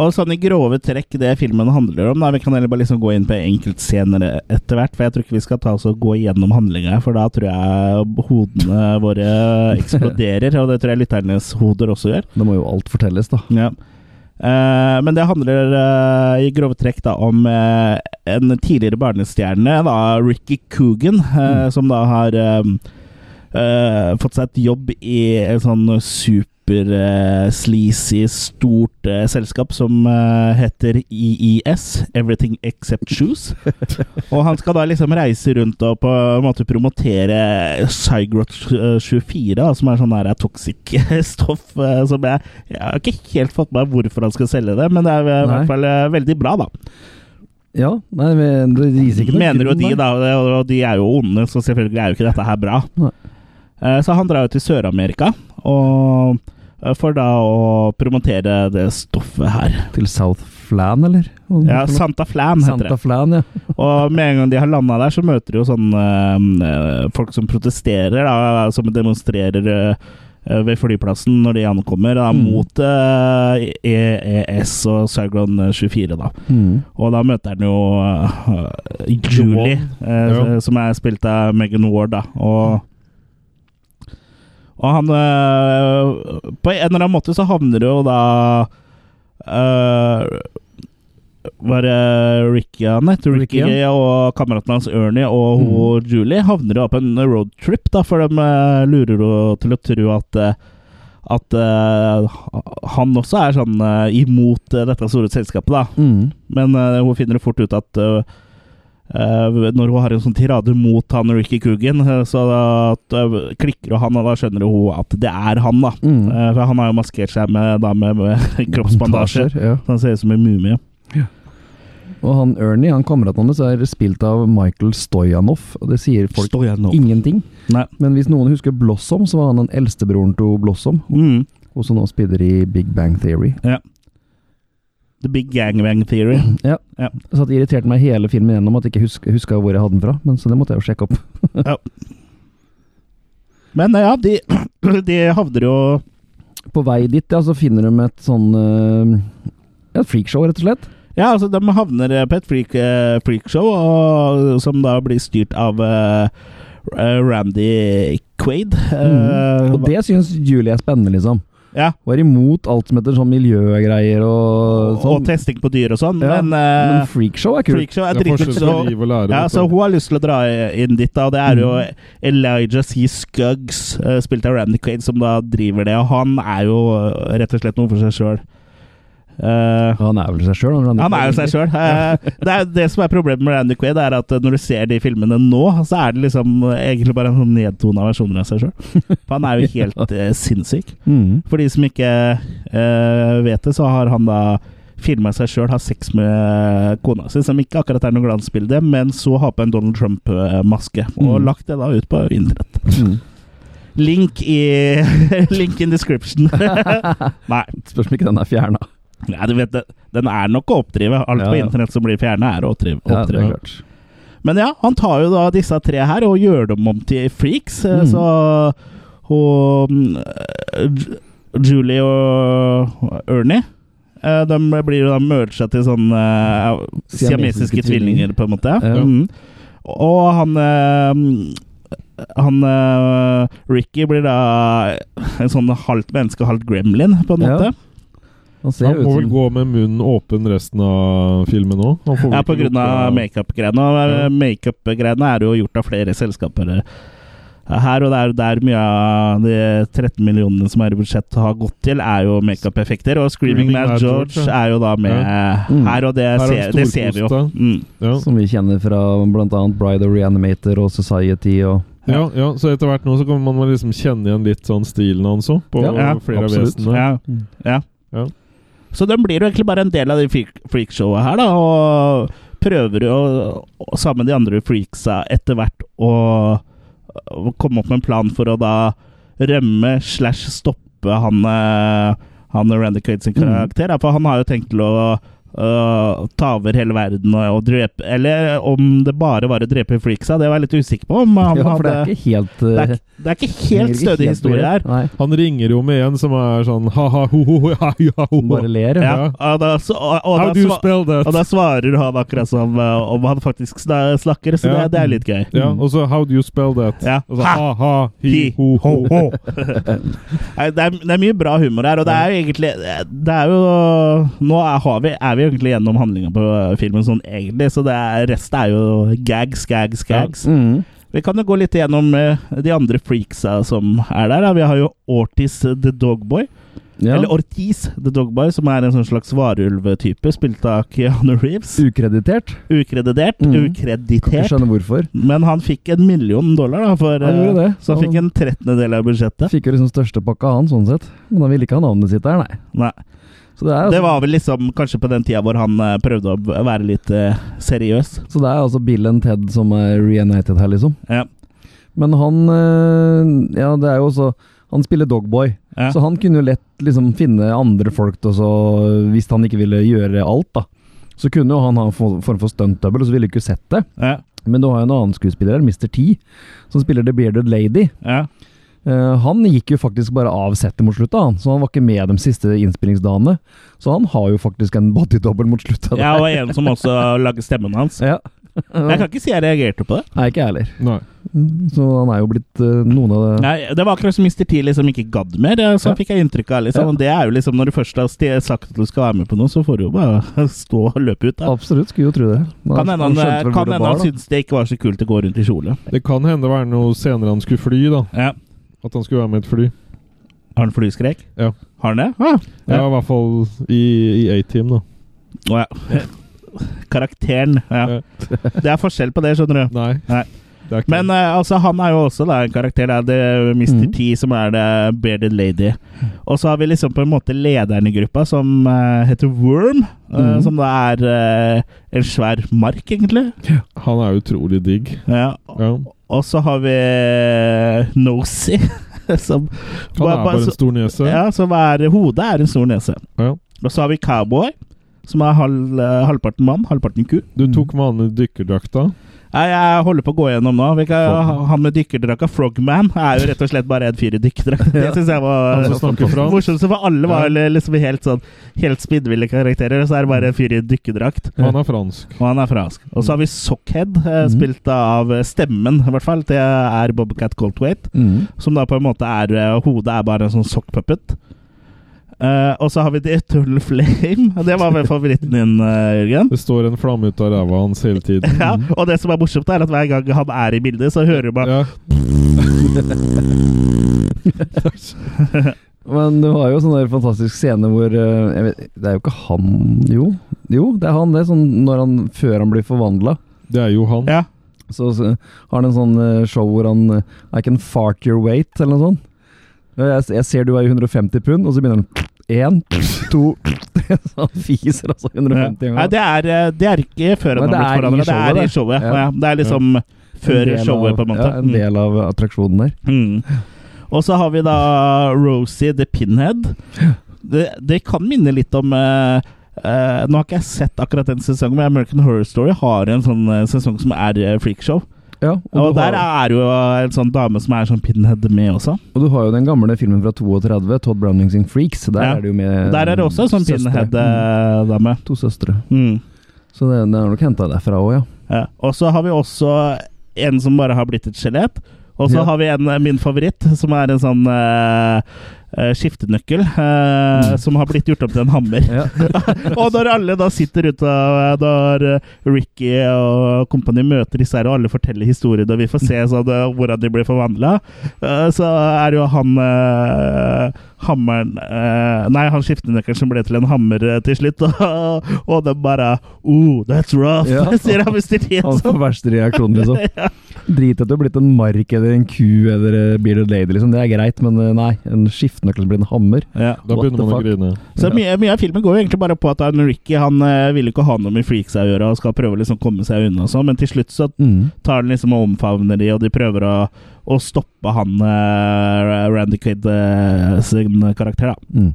Og sånn i grove trekk det filmen handler om. Da. Vi kan heller bare liksom gå inn på enkeltscener etter hvert, for jeg tror ikke vi skal ta oss og gå gjennom handlinga, for da tror jeg hodene våre eksploderer, og det tror jeg lytternes hoder også gjør.
Da må jo alt fortelles, da.
Ja. Eh, men det handler eh, i grove trekk da om eh, en tidligere barnestjerne, da, Ricky Coogan, eh, som da har eh, eh, fått seg et jobb i en sånn super super-sleazy, stort eh, selskap som eh, heter EES, Everything Except Shoes. og han skal da liksom reise rundt og på en måte promotere Cygrot eh, 24, da, som er sånn her eh, toxic stoff eh, som jeg, jeg har ikke helt fått med meg hvorfor han skal selge det, men det er eh, i
Nei.
hvert fall eh, veldig bra, da.
Ja, nei, men det viser ikke noe
Mener jo
grunn,
de,
nei.
da. og- Og de er jo onde, så selvfølgelig er jo ikke dette her bra.
Nei.
Eh, Så han drar jo til Sør-Amerika, og eh, for da å promotere det stoffet her.
Til South Flan, eller? Hva
Ja,
heter det?
Santa Flan heter
Mm, Santa
det.
Flan, ja.
Og med en gang de har landa der, så møter de jo sånn eh, eh, folk som protesterer, da, som demonstrerer eh, eh, ved flyplassen når de ankommer, da,
Mm.
mot eh, EES og Cyclone 24, da.
Mm.
Og da møter han jo øh, øh, Julie,
Ward.
eh,
Ja.
som er spilt av Megan Ward, da. Og, og han øh, På en eller annen måte så havner jo da øh, Var det Ricky han het? Ricky,
Ricky,
og kameraten hans Ernie og hun Julie havner jo da på en roadtrip, da, for de øh, lurer jo til å tro at øh, at øh, han også er sånn øh, imot øh, dette store selskapet, da.
Mm.
Men eh, hun finner det fort ut at eh, eh, når hun har en sånn tirade mot han Ricky Coogan, eh, så da, at, eh, klikker jo han, og da skjønner hun at det er han, da.
Mm.
Eh, for han har jo maskert seg med, da, med, med kroppsbandasje.
Bandasjer, Ja.
Så Han ser ut som en mumie.
Og han Ernie, han kameraten hans, er spilt av Michael Stojanov, og det sier folk
Står jeg nå?
ingenting.
Nei.
Men hvis noen husker Blossom, så var han den eldste broren til Blossom,
Mm.
og som nå spiller i Big Bang Theory.
The Big Gangbang Theory.
Ja.
Ja.
Så det irriterte meg hele filmen gjennom at jeg ikke huska, huska hvor jeg hadde den fra, men så det måtte jeg jo sjekke opp.
Men eh, ja, de, de havner jo
På vei dit, ja, så finner de et sånn eh, ja, et freakshow, rett og slett.
Ja, altså, de havner eh, på et freak, eh, freakshow, og, som da blir styrt av eh, eh, Randy Quaid. Eh,
Mm. Og det syns Julie er spennende, liksom.
ja.
Var imot alt som heter sånn miljøgreier og
og,
sånn.
testing på dyr og sånn,
Ja,
men,
men
eh,
freakshow er kult.
freakshow er
Det er
dritkult.
forskjell på
Så,
liv og lære.
ja,
vet du.
så hun har lyst til å dra inn dit, da, og det er jo
Mm.
Elijah C. Scuggs, eh, spilt av Randy Quaid, som da driver det, og han er jo eh, rett og slett noe for seg sjøl.
Han er vel seg sjøl.
han er jo seg sjøl. det, er det som er problemet med Randy Quaid, er at eh, når du ser de filmene nå, så er det liksom eh, egentlig bare en sånn nedtona versjon av seg sjøl. For han er jo helt eh, sinnssyk.
Mm.
For de som ikke eh, vet det, så har han da filma seg sjøl ha sex med kona si, som ikke akkurat er noe glansbilde, men så ha på en Donald Trump-maske, og
Mm.
lagt det da ut på internett.
Mm.
Link i Link in description. Nei,
Spørs om ikke den er fjerna.
nei, du vet det. Den er nok å oppdrive. Alt
Ja,
på
ja.
internett som blir fjerna, er å oppdrive.
Ja, det er
oppdrive.
klart.
men ja, han tar jo da disse tre her og gjør dem om til freaks, eh,
Mm.
så og eh, Ju- Julie og Ernie eh, de blir jo da merga til sånne eh,
Siamesiske
siamesiske tvillinger, på en måte.
Ja.
Mm. Og han eh, han eh, Ricky blir da en sånn halvt menneske, halvt gremlin, på en
Ja.
måte.
Han ser
Han må
jo ut
vel
som
gå med munnen åpen resten av filmen òg?
Ja, på grunn
eh,
av makeup-greiene. Og eh,
Ja.
makeup-greiene er jo gjort av flere selskaper eh, her, og det er jo der mye av de 13 millionene som er i budsjett, har gått til, er jo makeup-effekter. Og 'Screaming
Screaming
Mad
Mad
George'
George,
er jo da med
Mm.
her, og det,
Her er
ser,
de
det ser vi jo.
storkoste.
Mm.
ja.
som vi kjenner fra bl.a. Bride of Reanimator og Society og
Ja, ja, så etter hvert nå så kommer man liksom kjenne igjen litt sånn stilen hans òg, på
Ja,
ja,
flere av
absolutt.
vesenene.
Ja.
Mm.
Ja.
Ja.
Så den blir jo egentlig bare en del av det freak- freakshowet her, da, og prøver jo å- sammen med de andre freaksa etter hvert å å komme opp med en plan for å da rømme slash stoppe han, eh, han Randy Quaid
Mm.
sin karakter. da, For han har jo tenkt til å øh, ta over hele verden og, og drepe Eller om det bare var å drepe freaksa, det var jeg litt usikker på. Om han
Ja, for det
hadde,
er ikke helt
det,
eh,
er, ikke- det er ikke
henger
helt
ikke
stødig
helt
historie her.
på greip.
Han ringer jo med en som er sånn ha-ha, ho-ho, ja-ja-ho.
Nei, bare ler. Ja.
Ja, og da, så, og, og
How
da
do you
sva-
spell that?
Og da svarer han akkurat som eh, om han faktisk sna- snakker, så
Ja.
det, det er litt gøy.
Ja, og så how do you spell that?
Ja.
Og så
Ha.
ha-ha,
Hi, ho,
hi-ho-ho.
ho. Nei, det, er, det er mye bra humor her, og det er jo egentlig det er jo, Nå er, har vi, er vi egentlig gjennom eh, handlinga på filmen sånn egentlig, så det er, resten er jo gags, gags, gags.
Mm.
Vi kan jo gå litt gjennom eh, de andre freaksa som er der. Da. Vi har jo Ortiz eh, the Dogboy.
Ja.
Eller Ortiz the Dogboy, som er en sånn slags varulvtype, spilt av Keanu Reeves.
Ukreditert.
Ukreditert.
Mm.
Mhm. Kan ikke
Ukreditert.
skjønne hvorfor.
Men han fikk en million dollar, da, for,
Han gjorde
eh,
det.
så han fikk en trettendedel av budsjettet.
Fikk jo liksom størstepakka av han, sånn sett. Men han ville ikke ha navnet sitt der, nei.
Nei.
Så det er,
Det
altså,
var vel liksom kanskje på den tida hvor han eh, prøvde å b- være litt eh, seriøs.
så det er altså Bill and Ted som er reunited her, liksom.
Ja.
Men han eh, Ja, det er jo også Han spiller Dogboy,
Ja.
så han kunne jo lett liksom finne andre folk til å så- Hvis han ikke ville gjøre alt, da. Så kunne jo han ha en for- form for stuntdouble, og så ville du ikke sett det.
Ja,
Men du har jo en annen skuespiller, her, Mr. T, som spiller The Bearded Lady.
ja.
Eh, han gikk jo faktisk bare av settet mot slutta, han. Så han var ikke med de siste innspillingsdagene. Så han har jo faktisk en bodydouble mot slutta.
ja, og en som også lager stemmen hans.
Ja.
Jeg kan ikke si jeg reagerte på det.
Nei, ikke jeg heller.
Nei.
Så han er jo blitt eh, noen av det
Nei, det var akkurat som Mr. T liksom ikke gadd mer, eh, så
Ja.
fikk jeg inntrykk av. liksom,
Ja.
og Det er jo liksom, Når du først har sti- sagt at du skal være med på noe, så får du jo bare stå og løpe ut. da.
Absolutt, skulle jo tro det. Men
Kan hende han,
skjønte vel
eh,
hvor
kan
det
hende
bar,
han
da.
syntes det ikke var så kult å gå rundt i kjole.
Det kan hende det var noe senere han skulle fly, da.
Ja.
At han skulle være med et fly.
Har han flyskrekk?
Ja.
Har han det? Ah,
Ja,
Ja.
i hvert fall i, i A-Team, da.
Å, ja. Karakteren. Ja.
Ja.
Det er forskjell på det, skjønner du.
Nei.
Nei.
Det er ikke
Men eh, altså, han er jo også da, en karakter. Det er det Mr.
Mhm.
T som er det bearded lady. Og så har vi liksom på en måte lederen i gruppa, som eh, heter Worm. eh,
Mhm.
Som da er eh, en svær mark, egentlig.
Han er utrolig digg.
Ja.
Ja.
Og så har vi Nosy, som
Han er bare en
så,
stor nese.
ja, som er Hodet er en stor nese.
Ja.
Og så har vi Cowboy, som er halv, eh, halvparten mann, halvparten ku.
Du tok med han med dykkerdrakta.
Nei, jeg holder på å gå gjennom nå. Vi kan- han med dykkerdrakka, Frogman, er jo rett og slett bare en fyr i dykkerdrakt. Det synes jeg
Han som
var
snakker fransk.
morsomt. så For alle var li- liksom helt sånn helt spinnville karakterer, og så er det bare en fyr i dykkerdrakt.
Han er fransk.
Og han er fransk. Og så har vi Sockhead, eh, spilt av eh, stemmen, i hvert fall. Det er Bobcat Goldthwait,
Mhm.
som da på en måte er eh, Hodet er bare en sånn sockpuppet. Eh, og så har vi The Eternal Flame. Det var vel favoritten din, eh, Jørgen.
Det står en flamme ut av ræva hans hele tiden.
Ja, og det som er morsomt, er at hver gang han er i bildet, så hører man
Ja.
Men du har jo sånn der fantastisk scene hvor eh, jeg vet, Det er jo ikke han Jo, jo det er han, det. Sånn når han, før han blir forvandla.
Det er jo han.
Ja.
Så, så har han en sånn eh, show hvor han eh, I can fart your weight, eller noe sånt. Og Jeg, jeg ser du veier 150 pund, og så begynner han Én, to Så han fiser altså 150
Nei,
ganger.
det er, eh, det er ikke før
Nei,
han
det
har blitt
er i
forandra. Det er i
showet, det.
showet.
Ja.
Ja. Det er liksom før
En del
showet,
av-
på en måte.
Ja, en del av attraksjonen der.
Mm. Mm. Og så har vi da Rosie the Pinhead. Det, det kan minne litt om eh, eh, Nå har ikke jeg sett akkurat den sesongen, men American Horror Story har en sånn eh, sesong som er eh, freakshow.
Ja, og,
Og
du
der
har,
er jo en sånn dame som er sånn pinhead med også.
og du har jo den gamle filmen fra 32, Todd Browning sin Freaks. Der
Ja.
er det jo med
Der er det også en sånn
søstre.
pinhead-dame.
Eh, Mm, To søstre.
Mm.
Så det, det er nok henta derfra òg, ja.
Ja. Og så har vi også en som bare har blitt et skjelett. Og så
Ja.
har vi en, eh, min favoritt, som er en sånn eh, eh, skiftenøkkel. eh,
Mm.
Som har blitt gjort om til en hammer. og når alle da sitter ute av Når eh, Ricky og kompani møter disse her, og alle forteller historien, og vi får se sånn, eh, hvordan de blir forvandla, så er jo han eh, hammeren eh, Nei, han skiftenøkkelen som ble til en hammer eh, til slutt, og, og de bare Oh, that's rough!
Ja.
sier han Mr. T.
Hans verste reaksjon, liksom.
Ja.
Drit at du har blitt en mark eller en ku eller eh, bearded lady, liksom. Det er greit, men eh, nei. En skiftenøkkel blir en hammer.
Ja.
Da
What the
begynner man å
fuck?
grine.
Så mye, mye av filmen går jo egentlig bare på at han, Ricky han eh, vil ikke ha noe med freaks å gjøre og skal prøve å liksom komme seg unna, og sånn, men til slutt så
Mm.
tar han liksom og omfavner de, og de prøver å, å stoppe han eh, Randy Quaid eh, sin karakter, da.
Mm.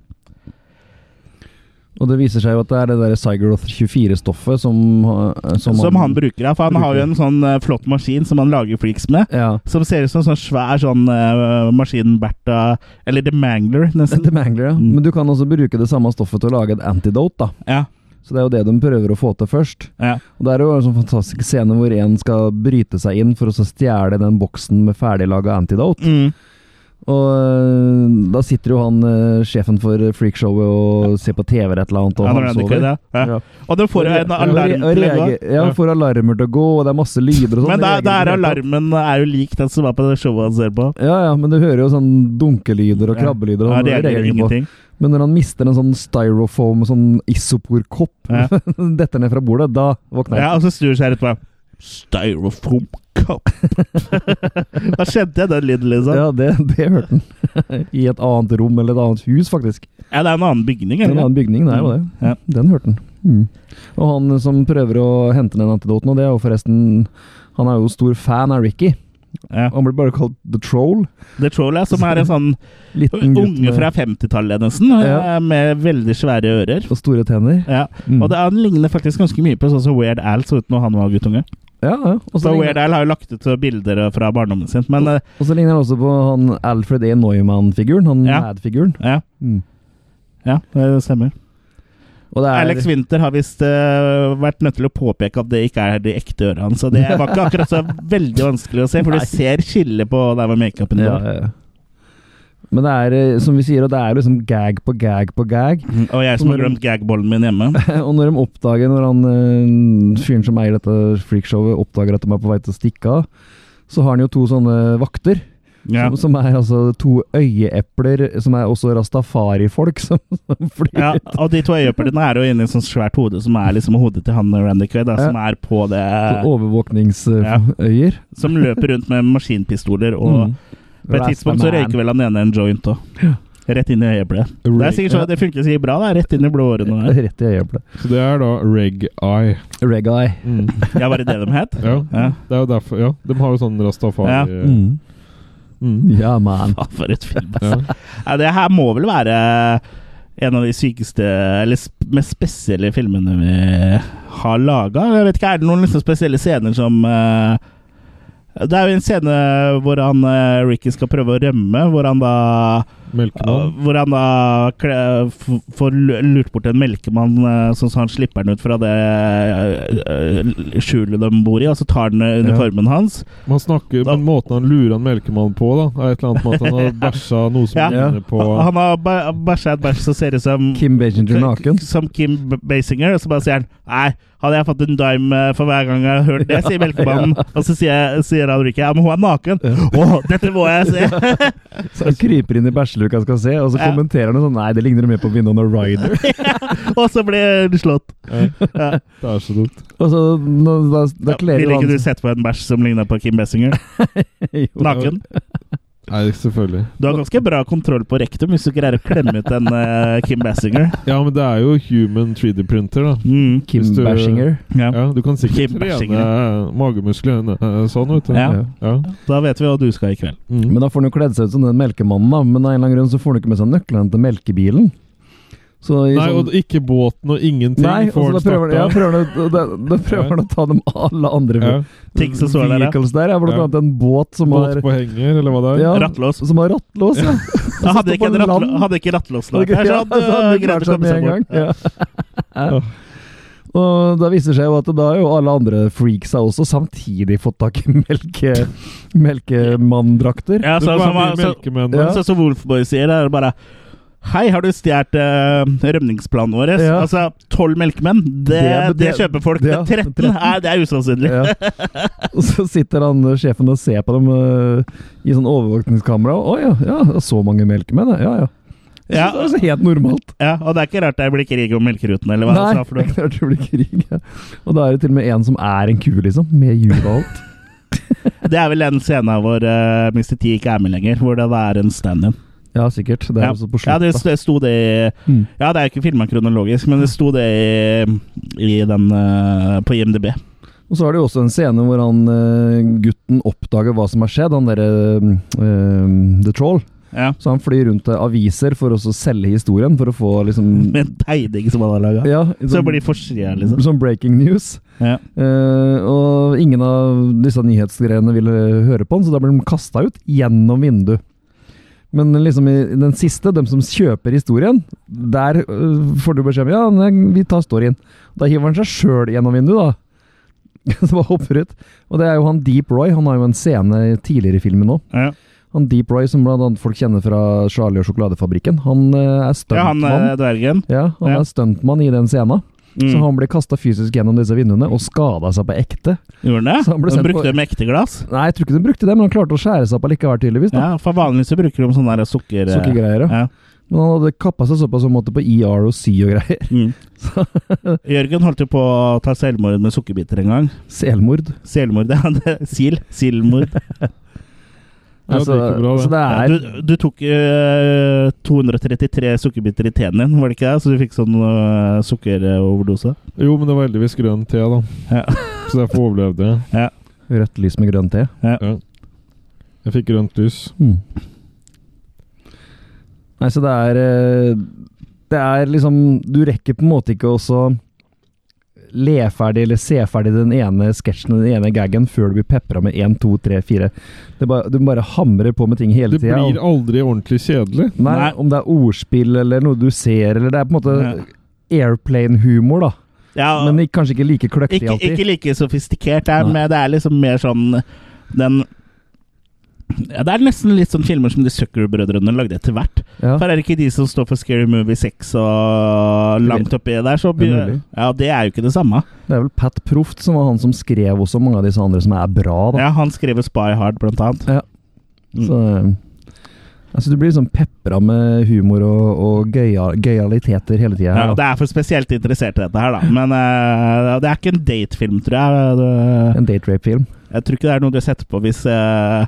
Og det viser seg jo at det er det der Cygroth 24-stoffet som, eh,
Som, han, bruker, ja. For han har jo en sånn eh, flott maskin som han lager freaks med.
Ja.
Som ser ut som en sånn svær sånn eh, maskin Bertha Eller The Mangler, nesten.
The Mangler, ja.
Mm.
Men du kan også bruke det samme stoffet til å lage et antidote, da.
Ja,
Så det er jo det de prøver å få til først.
ja.
Og Det er jo en sånn fantastisk scene hvor en skal bryte seg inn for å så stjele den boksen med ferdiglaga antidote.
Mm.
Og øh, da sitter jo han øh, sjefen for freakshowet og ser på TV eller et eller annet, og
Ja, når
han
det
sover.
er det. Ja.
Ja.
Og den får jo en
Og-
alarm til
og
å
reager-
gå.
Ja, han får alarmer til å gå, og det er masse lyder og sånn.
Men da, da
Det
er
reagerer ikke.
alarmen er jo lik den som var på det showet han ser på.
Ja, ja, men du hører jo sånn dunkelyder og
Ja.
krabbelyder. og
Ja,
sånn,
det
reagerer
gjelder
ikke på.
ingenting.
Men når han mister en sånn styrofoam, sånn isoporkopp,
Ja.
detter ned fra bordet, da våkner
Ja,
han.
og så snur seg rett på Styrofoam cup. da kjente jeg den lyden,
Ja,
liksom. Ja.
det, det hørte han. I et annet rom, eller et annet hus, faktisk.
det er en annen bygning.
En
Eller?
annen bygning, det er jo det.
Mm. Ja.
Den hørte han. Mm. Og han som prøver å hente den antidoten, og det er jo forresten Han er jo stor fan av Ricky.
Ja.
Han blir bare kalt The Troll.
The Troll, ja, som er en sånn
Liten gutt
unge fra 50-tallet, nesten, eh,
Ja.
med veldig svære ører.
med og store tenner.
Ja.
Mm.
Og det, han ligner faktisk ganske mye på sånn som Weird Al så ut når han var guttunge.
Ja, ja. Og
Så
så ligner-
Weird Al har jo lagt ut bilder fra barndommen sin, men eh,
og så ligner han også på han Alfred E. Neumann-figuren. Han
Ja. Mm.
Mad-figuren.
eh, ja. Ja, det stemmer.
Og det er
Alex Winter har visst eh, vært nødt til å påpeke at det ikke er de ekte ørene hans. Så det var ikke akkurat så veldig vanskelig å se, for
Nei.
du ser skillet på der hvor makeupen
ja,
går.
ja, ja. Men det er, eh, som vi sier, og det er liksom gag på gag på gag.
Og jeg som har glemt gagbollen min hjemme.
Og når de oppdager, når han eh, fyren som eier dette freakshowet, oppdager at de er på vei til å stikke av, så har han jo to sånne vakter.
Ja.
Som, som er altså to øyeepler, som er også rastafari-folk som, som flyr.
Ja, og de to øyeøplene er jo inni et sånt svært hode, som er liksom hodet til han Randy Quaid, da, som er på det Ja.
Overvåkningsøyer.
Som løper rundt med maskinpistoler,
Mm.
og på et tidspunkt så røyker vel han ene Mm. en joint òg. Rett inn i øyeeplet. Det er sikkert sånn at det funker sikkert bra, da. Rett inn i blodårene. der.
Rett i øyeeplet.
Så det er da reg-eye.
Reggae.
Ja, var det det de het?
Ja.
Mm. Ja.
Det er jo derfor, ja. De har jo sånn rastafari
Ja.
Mm.
Mm.
Ja, man.
Faen, for et film.
Ja.
Ja, det her må vel være en av de sykeste, eller sp mest spesielle filmene vi har laga. Jeg vet ikke, er det noen liksom spesielle scener som eh, Det er jo en scene hvor han eh, Ricky skal prøve å rømme, hvor han da
Melkemann.
hvor han da kle- f- får lu- lurt bort en melkemann, eh, sånn så han slipper han ut fra det eh, eh, skjulet de bor i, og så tar han eh, uniformen hans.
Man snakker,
Da-
men måten han lurer en melkemann på, da, er et eller annet med at han har bæsja noe som
Ja.
ligner på
Han har bæ- bæsja et bæsj som ser ut som
Kim Basinger naken.
Som Kim B- Basinger, og så bare sier han Nei, hadde jeg fått en dime eh, for hver gang jeg har hørt det, sier melkemannen. Og så sier, jeg- sier han Ricky ja, men hun er naken. Å, dette må jeg se!
Så han kryper inn i bæsjeluka skal se, og så
Ja.
kommenterer han sånn Nei, det ligner mer på Winona Ryder.
og så blir han slått.
ja. Det er så dumt.
Og så nå- da, da
Ja,
kler
Ville
jo
ikke du
han
sett på en bæsj som ligner på Kim Basinger?
Jo.
Naken.
Nei, selvfølgelig.
Du har ganske bra kontroll på rektum hvis du greier å klemme ut en eh, Kim Basinger.
Ja, men det er jo human 3D-printer, da.
Mm,
Kim
Hvis du-
Basinger.
ja.
Ja, du kan sikkert
Kim
trene
Basinger.
magemusklene eh, sånn, vet du.
Ja.
Ja.
Da vet vi hva du skal i kveld.
Mm.
Men da får han jo kledd seg ut som den melkemannen, da. Men av en eller annen grunn så får han ikke med seg nøklene til melkebilen. Så i
Nei,
sånn-
og ikke båten og ingenting
Nei, og
får
så da
han
prøver, han- ja,
starta.
prøver han, å- da, da prøver han å ta dem alle andre
Ja.
Ting som står der, ja.
vehicles der. Ja, blant
Ja.
annet en båt som
Båt
har
på henger, eller hva det er.
ja,
Rattlås.
Som har rattlås, ja.
Da hadde ikke,
står på
en rattl
land.
hadde ikke rattlås
Og
lagt der, så hadde
hadde
du
de
greid
klart
å
seg
komme
med
seg
en gang.
bort.
Ja. Og da viser det seg jo at da har jo alle andre freaks har også samtidig fått tak i melke, melkemanndrakter.
Ja,
Det
så,
var
som,
mye
så,
melkemenn
Men
der.
Sånn som Wolfboy sier, det er bare Hei, har du stjålet eh, rømningsplanen vår?
Ja.
Altså, tolv melkemenn, det, det,
Det- det-
kjøper folk.
det- ja,
13?
13.
Nei, det er usannsynlig.
Ja. Og så sitter han eh, sjefen og ser på dem eh, i sånn overvåkningskamera. Å ja, ja, det er så mange melkemenn, ja. ja. ja.
Ja.
Så det er så helt normalt.
Ja, og det er ikke rart det blir krig om melkeruten, eller hva
Nei,
han sa for
det er
noe.
klart det blir krig. Ja. Og da er det til og med en som er en ku, liksom. Med hjul og alt.
Det er vel den scenen hvor eh, Mr. T ikke er med lenger, hvor det da er en stand-in.
Ja, sikkert. Det er
Ja.
også på
Ja,
slutt.
det
da.
sto- sto det i
Mm.
Ja, det er jo ikke filma kronologisk, men det sto det i, i den eh, på IMDb.
Og så er det jo også en scene hvor han eh, gutten oppdager hva som har skjedd, han derre eh, The Troll.
Ja.
Så han flyr rundt til aviser for å så selge historien, for å få liksom
Med en tegning som han har laga.
ja,
Så
sånn-
blir de forsida, liksom.
Som sånn breaking news.
Ja.
Eh, og ingen av disse nyhetsgreiene ville høre på han, så da ble de kasta ut gjennom vinduet. Men liksom i i den siste, de som kjøper historien, der eh, får du beskjed om ja, nei, vi tar storyen. Da hiver han seg sjøl gjennom vinduet, da. Så bare hopper ut. Og det er jo han Deep Roy. Han har jo en scene tidligere i filmen òg.
Ja.
Han Deep Roy, som blant annet folk kjenner fra Charlie og sjokoladefabrikken, han eh,
Ja,
er
han
stuntmann.
eh, dvergen.
Ja, han
ja.
er stuntmann i den scenen. Så
Mm.
han ble kasta fysisk gjennom disse vinduene og skada seg på ekte.
Gjorde han det?
Så han ble
han
sendt på-
brukte mektig glass?
Nei, jeg tror ikke de brukte det, men han klarte å skjære seg opp allikevel, tydeligvis. da.
Ja, for vanligvis så bruker de sånne der sukker... eh,
Sukkergreier, ja.
ja.
Men han hadde kappa seg såpass på en måte på ER og C og greier.
Mm. Jørgen holdt jo på å ta selvmord med sukkerbiter en gang.
Selmord.
Selvmord, ja. det- Sil. Silmord.
Ja, det gikk jo bra, det.
Altså, så det
Ja,
er
Du, du tok eh, 233 sukkerbiter i teen din, var det ikke det? Så du fikk sånn eh, sukkeroverdose.
Jo, men det var heldigvis grønn te, da.
Ja.
Så derfor overlevde jeg.
rødt lys med grønn te.
Ja. Jeg fikk grønt lys.
Hmm. Nei, så det er eh, Det er liksom Du rekker på en måte ikke å så le ferdig eller se ferdig den ene sketsjen den ene gaggen før du blir pepra med én, to, tre, fire. Det er bare- Du bare hamrer på med ting hele
Det
tida.
blir aldri ordentlig kjedelig.
Nei,
Nei.
Om det er ordspill eller noe du ser, eller det er på en måte airplane-humor, da.
Ja,
Men ikke- kanskje ikke like kløktig
ikke,
alltid.
ikke like sofistikert, det er,
Nei.
men det er liksom mer sånn den ja, Det er nesten litt sånn filmer som de Zucker-brødrene lagde etter hvert.
ja.
For er det ikke de som står for Scary Movie 6 og langt oppi der, så
Det er
begynner
mulig.
Ja, det er jo ikke det samme.
Det er vel Pat Proft som var han som skrev også mange av disse andre som er bra, da.
Ja, Mm. han skrev Spy Hard, blant annet.
Så, altså, du blir liksom pepra med humor og, og gøya- gøyaliteter hele tida.
Ja, det er for spesielt interessert i dette her, da. Men eh, det er ikke en datefilm, tror jeg. Det,
en date rape-film.
jeg tror ikke det er noe du setter på hvis eh,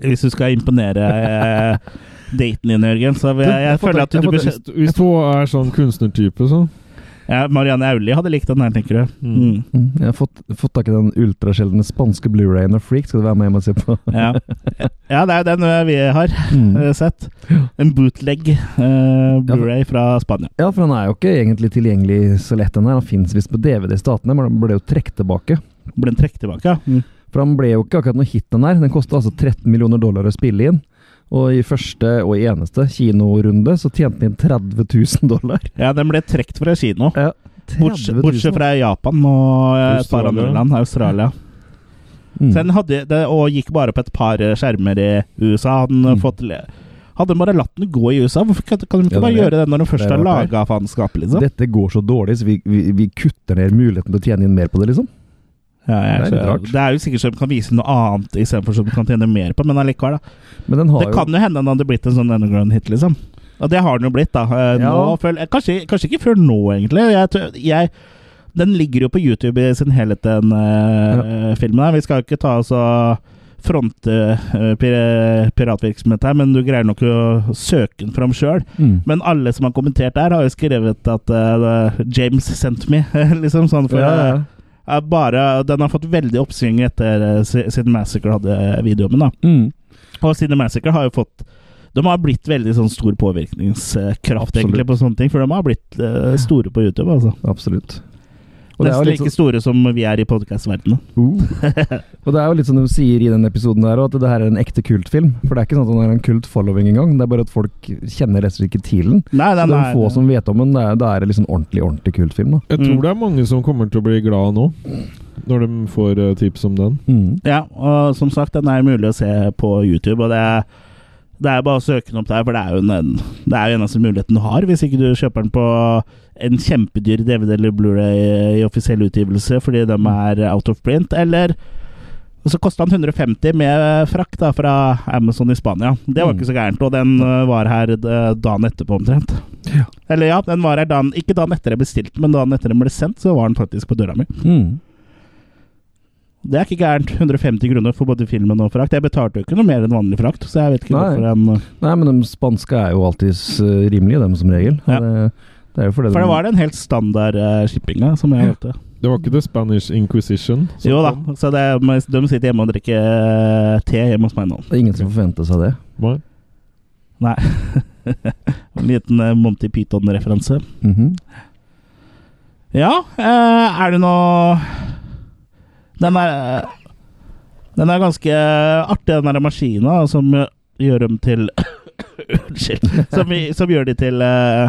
Hvis du skal imponere eh, daten din, Jørgen. Så jeg, jeg føler at du bør
Hvis, hvis du er sånn kunstnertype, så
ja, Marianne Aulie hadde likt den her, tenker du. Mm.
Mm, Jeg har fått, fått tak i den ultrasjeldne spanske Blu-rayen av Freak. Skal du være med hjem og se på?
Ja. ja, det er jo den eh, vi har
Mm.
eh, sett. En bootleg eh, Blu-ray fra Spania.
Ja, for han er jo ikke egentlig tilgjengelig så lett, den her. Han fins visst på DVD i Statene, men han ble jo trukket tilbake.
Ble den trukket tilbake? ja. Mm.
For han ble jo ikke akkurat noe hit, den her. Den kosta altså 13 millioner dollar å spille inn. Og i første og i eneste kinorunde så tjente han inn 30 000 dollar.
Ja, den ble trukket fra kino.
Ja,
Bortsett,
liksom.
bortsett fra Japan og eh, et par andre
Australia.
land. Australia.
Mm.
Så den hadde, det, og gikk bare på et par eh, skjermer i USA. Hadde den fått le- hadde den bare latt den gå i USA? Hvorfor kan, kan de ikke
Mm. Ja, det
bare
er-
gjøre det når de
det
først
er
har
rart
laga faenskapet, liksom?
Dette går så dårlig, så vi, vi, vi kutter ned muligheten til å tjene inn mer på det, liksom.
ja, jeg,
det er litt
skjønner.
rart.
det er jo sikkert så de kan vise noe annet istedenfor så de kan tjene mer på, men allikevel, da.
Men den har
Det kan jo hende den hadde blitt en sånn underground hit, liksom. Og det har den jo blitt, da. Eh, Nå,
Ja.
føl- eh, kanskje, kanskje ikke før nå, egentlig. Jeg, tø- jeg, den ligger jo på YouTube i sin helhet, den eh, filmen her. Vi skal jo ikke ta oss og fronte eh, pir piratvirksomhet her, men du greier nok å søke den fram sjøl.
jo mm.
Men alle som har kommentert der, har jo skrevet at eh, 'James sent me', liksom. sånn for
ja, ja.
eh, bare, Den har fått veldig oppsving etter uh, siden Massacre hadde videoen min, da.
Mm.
Og Cine Massacre har jo fått De har blitt veldig sånn stor påvirkningskraft
Absolutt.
egentlig på sånne ting, for de har blitt eh, store på YouTube. altså.
Absolutt. Og det, er
Nesten
jo litt
like
sånn,
store som vi er i podkastverdenen.
og det er jo litt som de sier i den episoden der, at det her er en ekte kultfilm. For det er ikke sånn at den har en kult following engang, det er bare at folk kjenner rett og slett ikke til den.
Nei,
Så
den
det
er
er få som vet om den, det er- da er det liksom ordentlig, ordentlig kultfilm, da.
Jeg
Mm.
tror det er mange som kommer til å bli glad nå, når de får eh, tips om den.
Mm.
Ja, og som sagt, den er mulig å se på YouTube, og det er det er bare å søke den opp der, for det er jo den det er jo eneste muligheten du har, hvis ikke du kjøper den på en kjempedyr DVD eller Blu-ray eh, i offisiell utgivelse fordi de er out of print, eller og så kosta den 150 med frakt da, fra Amazon i Spania. Det var ikke så gærent, og den øh, var her øh, dagen etterpå omtrent.
Ja.
Eller ja, den var her dagen, ikke dagen etter jeg bestilte, men dagen etter den ble sendt, så var den faktisk på døra mi.
Mm.
Det er ikke gærent. 150 kroner for både filmen og frakt. Jeg betalte jo ikke noe mer enn vanlig frakt, så jeg vet ikke
Nei.
hvorfor en
Nei, men de spanske er jo alltid eh, rimelige, dem som regel.
Ja.
Det, det er jo fordi
For
de-
det var den helt standard uh, shippinga, som jeg hørte.
Det var ikke The Spanish Inquisition. som
Jo da,
kom.
Sånn.
så det, er- men de sitter hjemme og drikker eh, te hjemme hos meg nå.
det er ingen som forventer seg det.
Nei.
Nei. en liten eh, Monty Python-referanse.
Mhm.
Ja, eh, er det noe Den er Den er ganske artig, den der maskina som gjør dem til Unnskyld. Som, som gjør de til eh,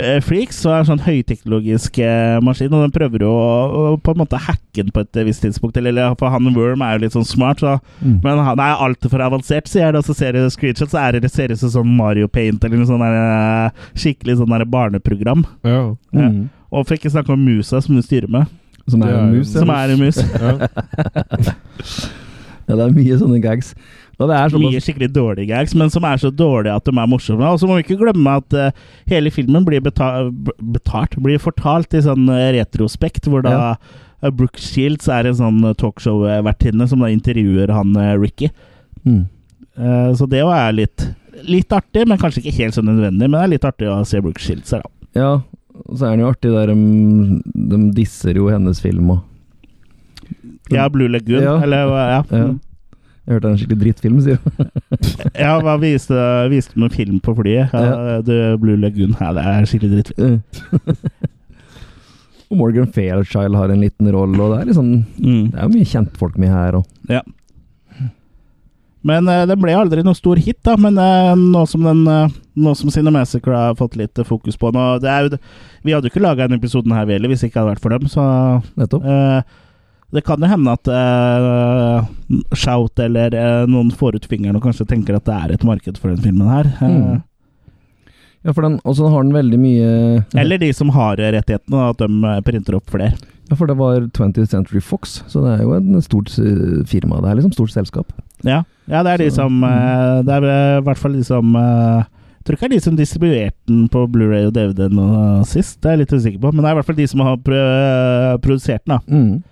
eh, Freaks, så er det sånn høyteknologisk eh, maskin, og den prøver jo å, å på en måte hacke den på et visst tidspunkt. Eller, eller for han Worm er jo litt sånn smart, så,
Mm.
men han er altfor avansert, sier jeg. Og så ser jeg screenshots, så er det, det ser ut som sånn Mario Paint eller noe sånn der, eh, skikkelig sånn der barneprogram.
Ja.
Ja.
Mm.
Og for ikke snakke om musa som du styrer med,
Som
Det
er en
er-
mus. ja.
som er en mus.
Ja.
Ja, det er mye sånne gags. Da det er såpass-
Mye skikkelig dårlige gags, men som er så dårlige at de er morsomme. Og så må vi ikke glemme at eh, hele filmen blir beta b- betalt, blir fortalt i sånn eh, retrospekt, hvor da
Ja.
eh, Brooke Shields er en sånn eh, talkshow-vertinne som da intervjuer han eh, Ricky.
mm.
Eh, så det jo er litt, litt artig, men kanskje ikke helt sånn nødvendig. Men det er litt artig å se Brooke Shields her, da.
Ja, og så er den jo artig der um, De disser jo hennes film og
Ja, Blue Lagoon,
Ja.
eller hva- ja.
ja. Jeg hørte det er en skikkelig drittfilm, sier hun.
ja hva viste, viste noen film på flyet? Ja,
Ja.
det Blue Lagoon, ja, det er skikkelig dritt.
Og Morgan Fairchild har en liten rolle, og det er liksom
Mm.
Det er jo mye kjentfolk med her og
Ja. Men eh, den ble aldri noe stor hit, da. Men eh, nå som, den, eh, nå som Cinemassacre har fått litt eh, fokus på den og det er jo, Vi hadde jo ikke laga denne episoden her heller hvis det ikke hadde vært for dem, så
Nettopp.
eh, Det kan jo hende at eh, Shout eller eh, noen får ut fingeren og kanskje tenker at det er et marked for den filmen her. Eh,
Mm. Ja, for den, og så har den veldig mye
Eller de som har eh, rettighetene, da, at de eh, printer opp flere.
Ja, for det var 20th Century Fox, så det er jo et stort eh, firma. Det er liksom stort selskap.
Ja, ja det er de
Så, mm.
som eh, Det er eh, i hvert fall de som eh, jeg tror ikke det er de som distribuerte den på Blu-ray og DVD nå eh, sist, det er jeg litt usikker på. Men det er i hvert fall de som har pro eh, produsert den, da.
Mm.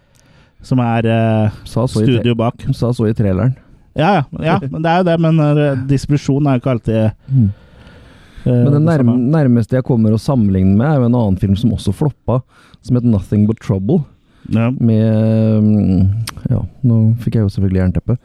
Som er eh,
Sa så i tra-
studio bak.
Sa så i traileren.
Ja, ja, ja, men det er jo det. Men eh, distribusjon er jo ikke alltid eh,
Men det
det
nærm
samme.
nærmeste jeg kommer å sammenligne med, er jo en annen film som også floppa, som het Nothing But Trouble.
Ja.
Med mm, Ja, nå fikk jeg jo selvfølgelig jernteppe.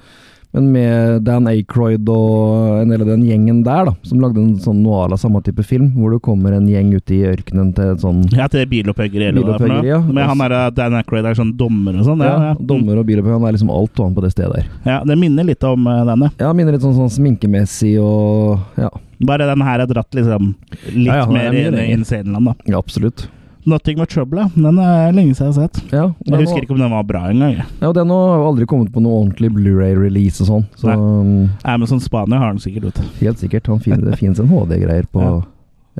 Men med Dan Acroyd og en del av den gjengen der, da, som lagde en sånn noir av samme type film, hvor det kommer en gjeng ut i ørkenen til et sånn
Ja, til bilopphuggeri eller hva det er for
Bilopphuggeri,
noe.
ja.
Men han er eh, Dan Aykroyd er sånn dommer og sånn. Ja, ja.
Dommer og bilopphøy, han er liksom alt og han på det stedet der.
ja, det minner litt om eh, denne.
Ja, minner litt sånn, sånn sminkemessig og ja,
Bare den her er dratt liksom litt
Ja, ja, den er
mer
mye
inn i
lenger.
Insaneland, da.
ja absolutt.
Nothing But Trouble, ja. Den er lenge siden jeg har sett.
Ja,
Jeg
den var-
husker ikke om den var bra engang. jeg.
Ja, og den har jo aldri kommet på noe ordentlig Blu-ray-release og sånn. Så
Nei.
um,
Amazon Spania har den sikkert ute.
helt sikkert. Han fin, det fins en HD-greier på
Ja.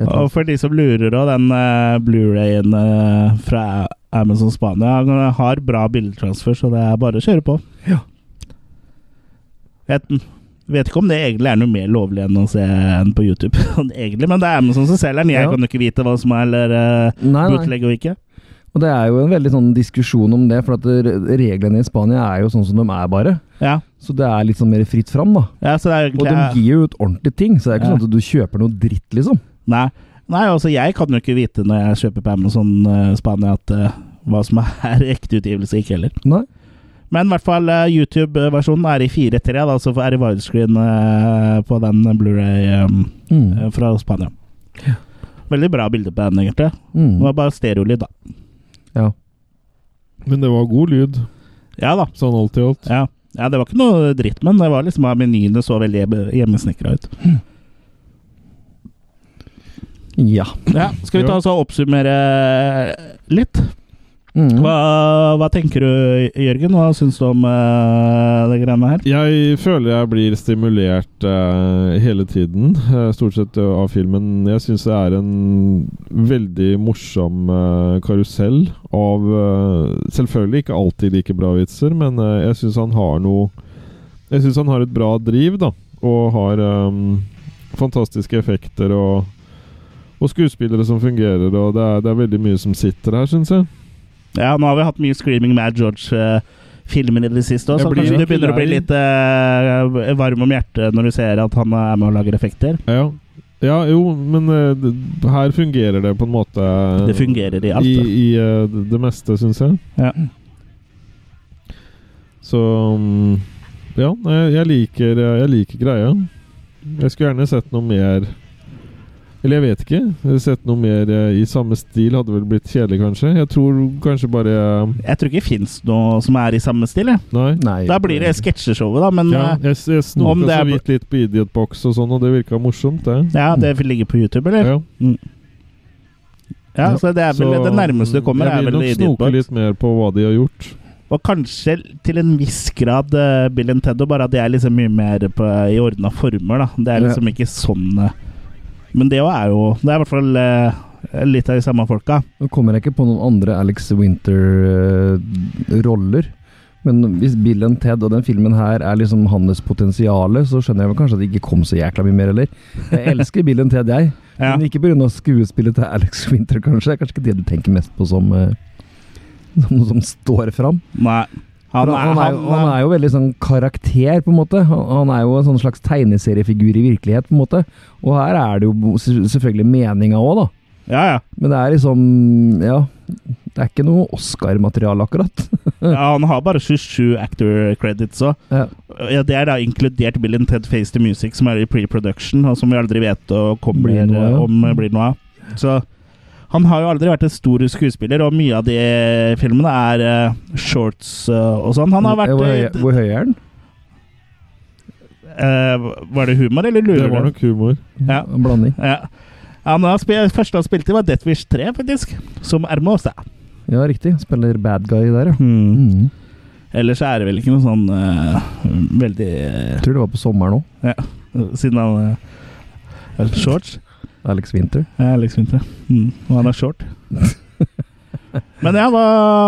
et eller
Og
annet.
for de som lurer òg, den eh, Blu-rayen eh, fra Amazon Spania den har bra bildetransfer, så det er bare å kjøre på. Vet, vet ikke om det egentlig er noe mer lovlig enn å se den på YouTube. sånn egentlig, men det er Amazon som selger den. Jeg
Ja.
kan jo ikke vite hva som er eller uh,
Nei, nei.
bootleg og ikke.
Og det er jo en veldig sånn diskusjon om det, for at det- reglene i Spania er jo sånn som de er, bare.
Ja.
Så det er litt sånn mer fritt fram, da.
ja, så det er
Og
egentlig
de gir jo ut ordentlige ting, så det er ikke
Ja.
sånn at du kjøper noe dritt, liksom.
Nei, Nei altså jeg kan jo ikke vite når jeg kjøper på Amazon eh, Spania at eh, hva som er ekte utgivelse, ikke heller.
Nei.
Men i hvert fall eh, YouTube-versjonen er i 4.3, da, så er det widescreen eh, på den Blu-ray um,
Mm.
eh, fra Spania. Veldig bra bilde på den, egentlig. Det
Mm.
var bare stereolyd, da.
Ja.
Men det var god lyd,
Ja da.
sånn alt i alt.
Ja. ja, det var ikke noe dritt, men det var liksom at menyene så veldig hjemme- hjemmesnekra ut.
ja.
Ja, skal vi ta oss og oppsummere eh, litt?
Mm.
Hva, hva tenker du, Jørgen? Hva syns du om eh, det greiene her?
Jeg føler jeg blir stimulert eh, hele tiden, eh, stort sett eh, av filmen. Jeg syns det er en veldig morsom eh, karusell av eh, Selvfølgelig ikke alltid like bra vitser, men eh, jeg syns han har noe Jeg syns han har et bra driv, da, og har eh, fantastiske effekter og og skuespillere som fungerer, og det er, det er veldig mye som sitter her, syns jeg.
Ja, nå har vi hatt mye Screaming Mad George-filmer i det siste òg,
Jeg
så
blir
kanskje du
ikke
begynner å bli
lei.
litt eh, varm om hjertet når du ser at han eh, er med og lager effekter.
Ja, ja jo, men eh, det- her fungerer det på en måte eh,
Det fungerer i alt.
I,
det.
i eh, det det meste, syns jeg.
Ja.
Så mm, Ja, nei, jeg liker, eh, jeg liker greia. Jeg skulle gjerne sett noe mer Eller jeg vet ikke. Jeg har Sett noe mer eh, i samme stil hadde vel blitt kjedelig, kanskje. Jeg tror kanskje bare eh,
Jeg tror ikke det fins noe som er i samme stil. Jeg.
Nei.
Nei.
Da blir det sketsjeshowet, da, men
Ja,
eh,
jeg
Om
jeg snoka
det
så
er på-
vidt litt på Idiotbox og sånn, og det virka morsomt, det.
ja, det ligger på YouTube, eller?
Ja.
Mm. Ja, så det er vel
Så
det nærmeste du kommer, er vel Idiot
Jeg vil nok snoke
Box.
litt mer på hva de har gjort.
Og kanskje til en viss grad eh, Bill and Ted, og bare at det er liksom mye mer på, i ordna former. da Det er liksom ikke sånn eh, Men det òg er jo Det er i hvert fall eh, litt av de samme folka.
Nå kommer jeg ikke på noen andre Alex Winter-roller. Men hvis Bill and Ted og den filmen her er liksom hans potensial, så skjønner jeg vel kanskje at det ikke kom så jækla mye mer heller. Jeg elsker Bill and Ted, jeg.
Ja.
Men ikke pga. skuespillet til Alex Winter, kanskje. Det er kanskje ikke det du tenker mest på som eh, som noe som står fram.
Nei.
Han
Han
er, han, er, jo- han er jo veldig sånn karakter, på en måte. Han, han er jo en sånn slags tegneseriefigur i virkelighet, på en måte. Og her er det jo s- selvfølgelig meninga òg, da.
Ja, ja.
Men det er liksom Ja. Det er ikke noe Oscar-materiale, akkurat.
ja. Han har bare 27 actor credits òg.
Ja.
Ja, det er da inkludert Bill and Ted Face the Music, som er i pre-production, og som vi aldri vet å kommer,
Blir noe, ja.
om eh, blir noe av. Så han har jo aldri vært en stor skuespiller, og mye av de filmene er eh, shorts eh, og sånn. Han har vært
hvor,
eh,
høy, hvor høy er den?
eh, Var det humor, eller
Det
lurer
var
du?
nok humor.
Ja.
En Blanding.
ja. Han har spil første han spilte i, var Death Wish 3, faktisk. Som Hermosa.
Ja, riktig. Spiller bad guy der, ja.
Hmm.
Mm.
Ellers er det vel ikke noe sånn eh, veldig eh,
Jeg tror det var på sommeren òg.
Siden han eh, er shorts.
Alex Winter.
Jeg er liksom ikke mm. Og han er short. Men ja, hva,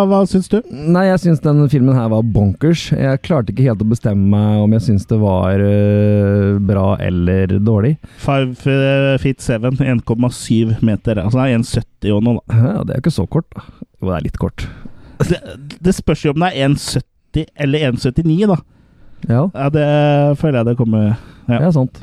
hva syns du?
Nei, jeg syns den filmen her var bonkers. Jeg klarte ikke helt å bestemme meg om jeg syns det var øh, bra eller dårlig.
Five eh, feet seven, 1,7 meter. Altså det er 1,70 og noe, da.
Ja, det er jo ikke så kort, da. Jo, det er litt kort.
Det, det spørs jo om det er 1,70 eller 1,79, da.
Ja,
Ja, det føler jeg det kommer Ja.
det er sant.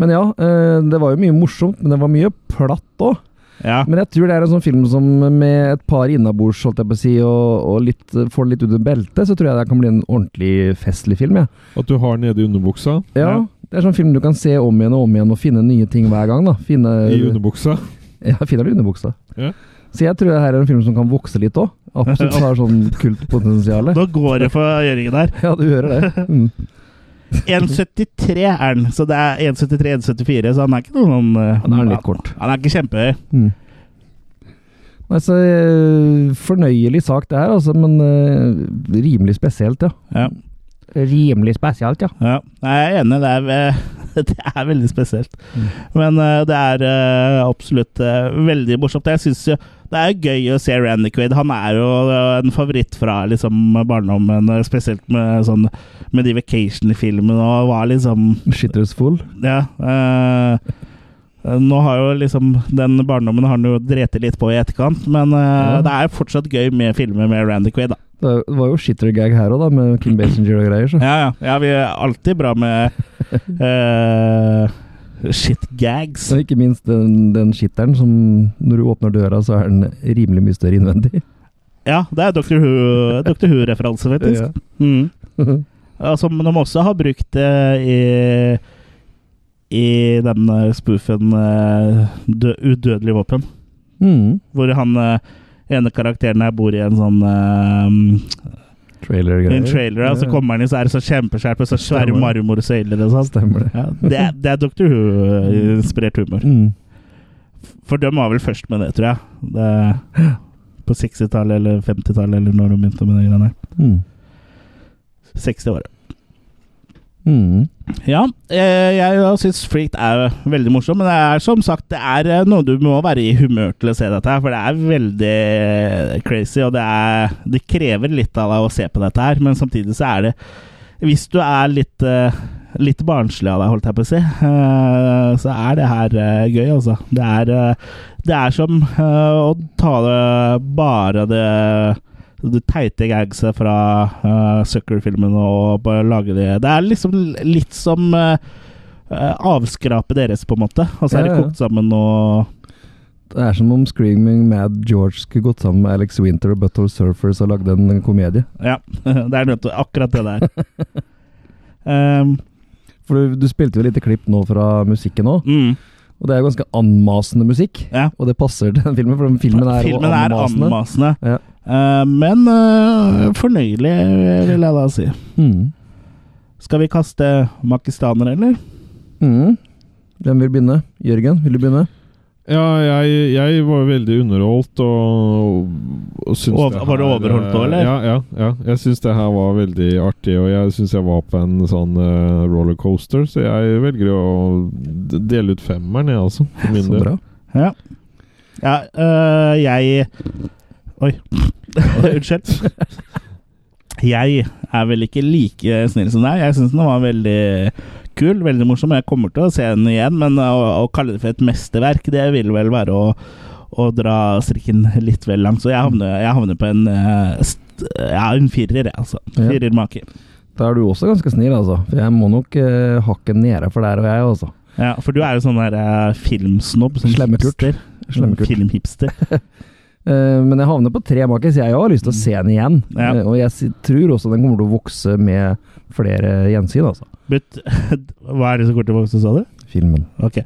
Men ja, øh, det var jo mye morsomt, men det var mye platt òg.
Ja.
Men jeg tror det er en sånn film som med et par innabords holdt jeg på å si, og, og litt, får det litt under beltet, så tror jeg det kan bli en ordentlig festlig film. Ja.
At du har nede i underbuksa.
Ja,
Ja.
Det er sånn film du kan se om igjen og om igjen og finne nye ting hver gang. da. Finne,
I underbuksa.
ja, finner du underbuksa.
Ja.
Så jeg tror det her er en film som kan vokse litt òg. Absolutt har sånn kultpotensial.
Nå går det for Jørgen der.
Ja, du hører det. Mm.
1,73 er den, så det er 1,73-1,74, så han er ikke noe sånn eh,
Han er litt kort.
Han er ikke kjempehøy.
Mm. Nei, så eh, Fornøyelig sak det her, altså, men eh, rimelig spesielt, ja.
Ja.
Rimelig spesielt, ja.
Ja, Nei, jeg er enig. Det er, ve- det er veldig spesielt. Men eh, det er eh, absolutt eh, veldig morsomt. Jeg synes jo det er gøy å se Randy Quaid. Han er jo eh, en favoritt fra liksom, barndommen, eh, spesielt med, sånn, med de vacation-filmene og var liksom
Shitters full.
Ja. eh, nå har jo liksom den barndommen har han jo dreti litt på i etterkant, men eh,
Ja.
det er fortsatt gøy med filmer med Randy Quaid, da.
Det er- det var jo shittergag her òg, da, med Kim Basinger og greier. Så.
Ja, ja. ja vi er alltid bra med eh, shit gags.
Og ikke minst den, den shitteren som når du åpner døra, så er den rimelig mye større innvendig.
Ja, det er Dr. Who- Dr. Who-referanse, faktisk. Mm. Ja, Som de også har brukt det i i den eh, spoofen eh, dø, 'Udødelig våpen',
Mm.
hvor han eh, ene karakteren her bor i en sånn eh, i en
Trailer-greier.
trailer, og så kommer han inn, så er det så kjempeskjerp og så svære
Stemmer.
marmorsøyler og sånn.
Stemmer det.
Ja, det, er- det er Dr. Who-inspirert humor.
Mm.
For de var vel først med det, tror jeg. Det, på 60-tallet eller 50-tallet, eller når de begynte med de greiene. der.
Mm.
60-året.
Mm.
Ja, eh, jeg syns Freaked er veldig morsom, men det er som sagt det er eh, noe du må være i humør til å se dette her, for det er veldig eh, crazy, og det, er, det krever litt av deg å se på dette her, men samtidig så er det Hvis du er litt, eh, litt barnslig av deg, holdt jeg på å si, eh, så er det her eh, gøy, altså. Det er, eh, det er som eh, å ta det bare det det teite gagset fra uh, Sucker-filmen og bare lage det Det er liksom litt som eh, eh, avskrapet deres, på en måte. Og så er
Ja,
det
ja.
kokt sammen og
Det er som om Screaming Mad George skulle gått sammen med Alex Winter og Butthole Surfers og lagd en komedie.
Ja. Det er nødt til akkurat det der. um,
For du, du spilte jo et lite klipp nå fra musikken òg,
mm,
og det er jo ganske anmasende musikk.
ja.
Og det passer til den filmen, for den filmen er, jo
Filmen er
anmasende.
anmasende.
Ja.
Eh, men eh, fornøyelig, vil jeg da si.
Mm.
Skal vi kaste makistaner, eller?
Mm. Hvem vil begynne? Jørgen, vil du begynne?
Ja, jeg, jeg var veldig underholdt og, og syns
Over-
det
var du overholdt nå, eller?
Ja, ja. ja. Jeg syns det her var veldig artig, og jeg syns jeg var på en sånn eh, rollercoaster, så jeg velger å d- dele ut femmeren, jeg, altså. For min
Så
del.
bra.
Ja. ja øh, jeg Oi. Unnskyld. Jeg er vel ikke like snill som deg. Jeg syns den var veldig kul, veldig morsom. Jeg kommer til å se den igjen, men å, å kalle det for et mesterverk, det vil vel være å, å dra strikken litt vel langt. Så jeg havner, jeg havner på en øh, st ja, en firer, jeg, altså.
Ja.
Firer make.
Da er du også ganske snill, altså. For jeg må nok eh, hakke nede for der og jeg, altså.
Ja, for du er jo sånn der øh, filmsnobb. Sånn
Slemme Kurt.
hipster.
Slemme Kurt.
Filmhipster.
Eh, men jeg havner på tre makis. Jeg har lyst til å
Mm.
se den igjen.
Ja.
Eh, og jeg si- tror også den kommer til å vokse med flere gjensyn, altså.
But hva er det som går til å vokse, sa du?
Filmen.
Ok.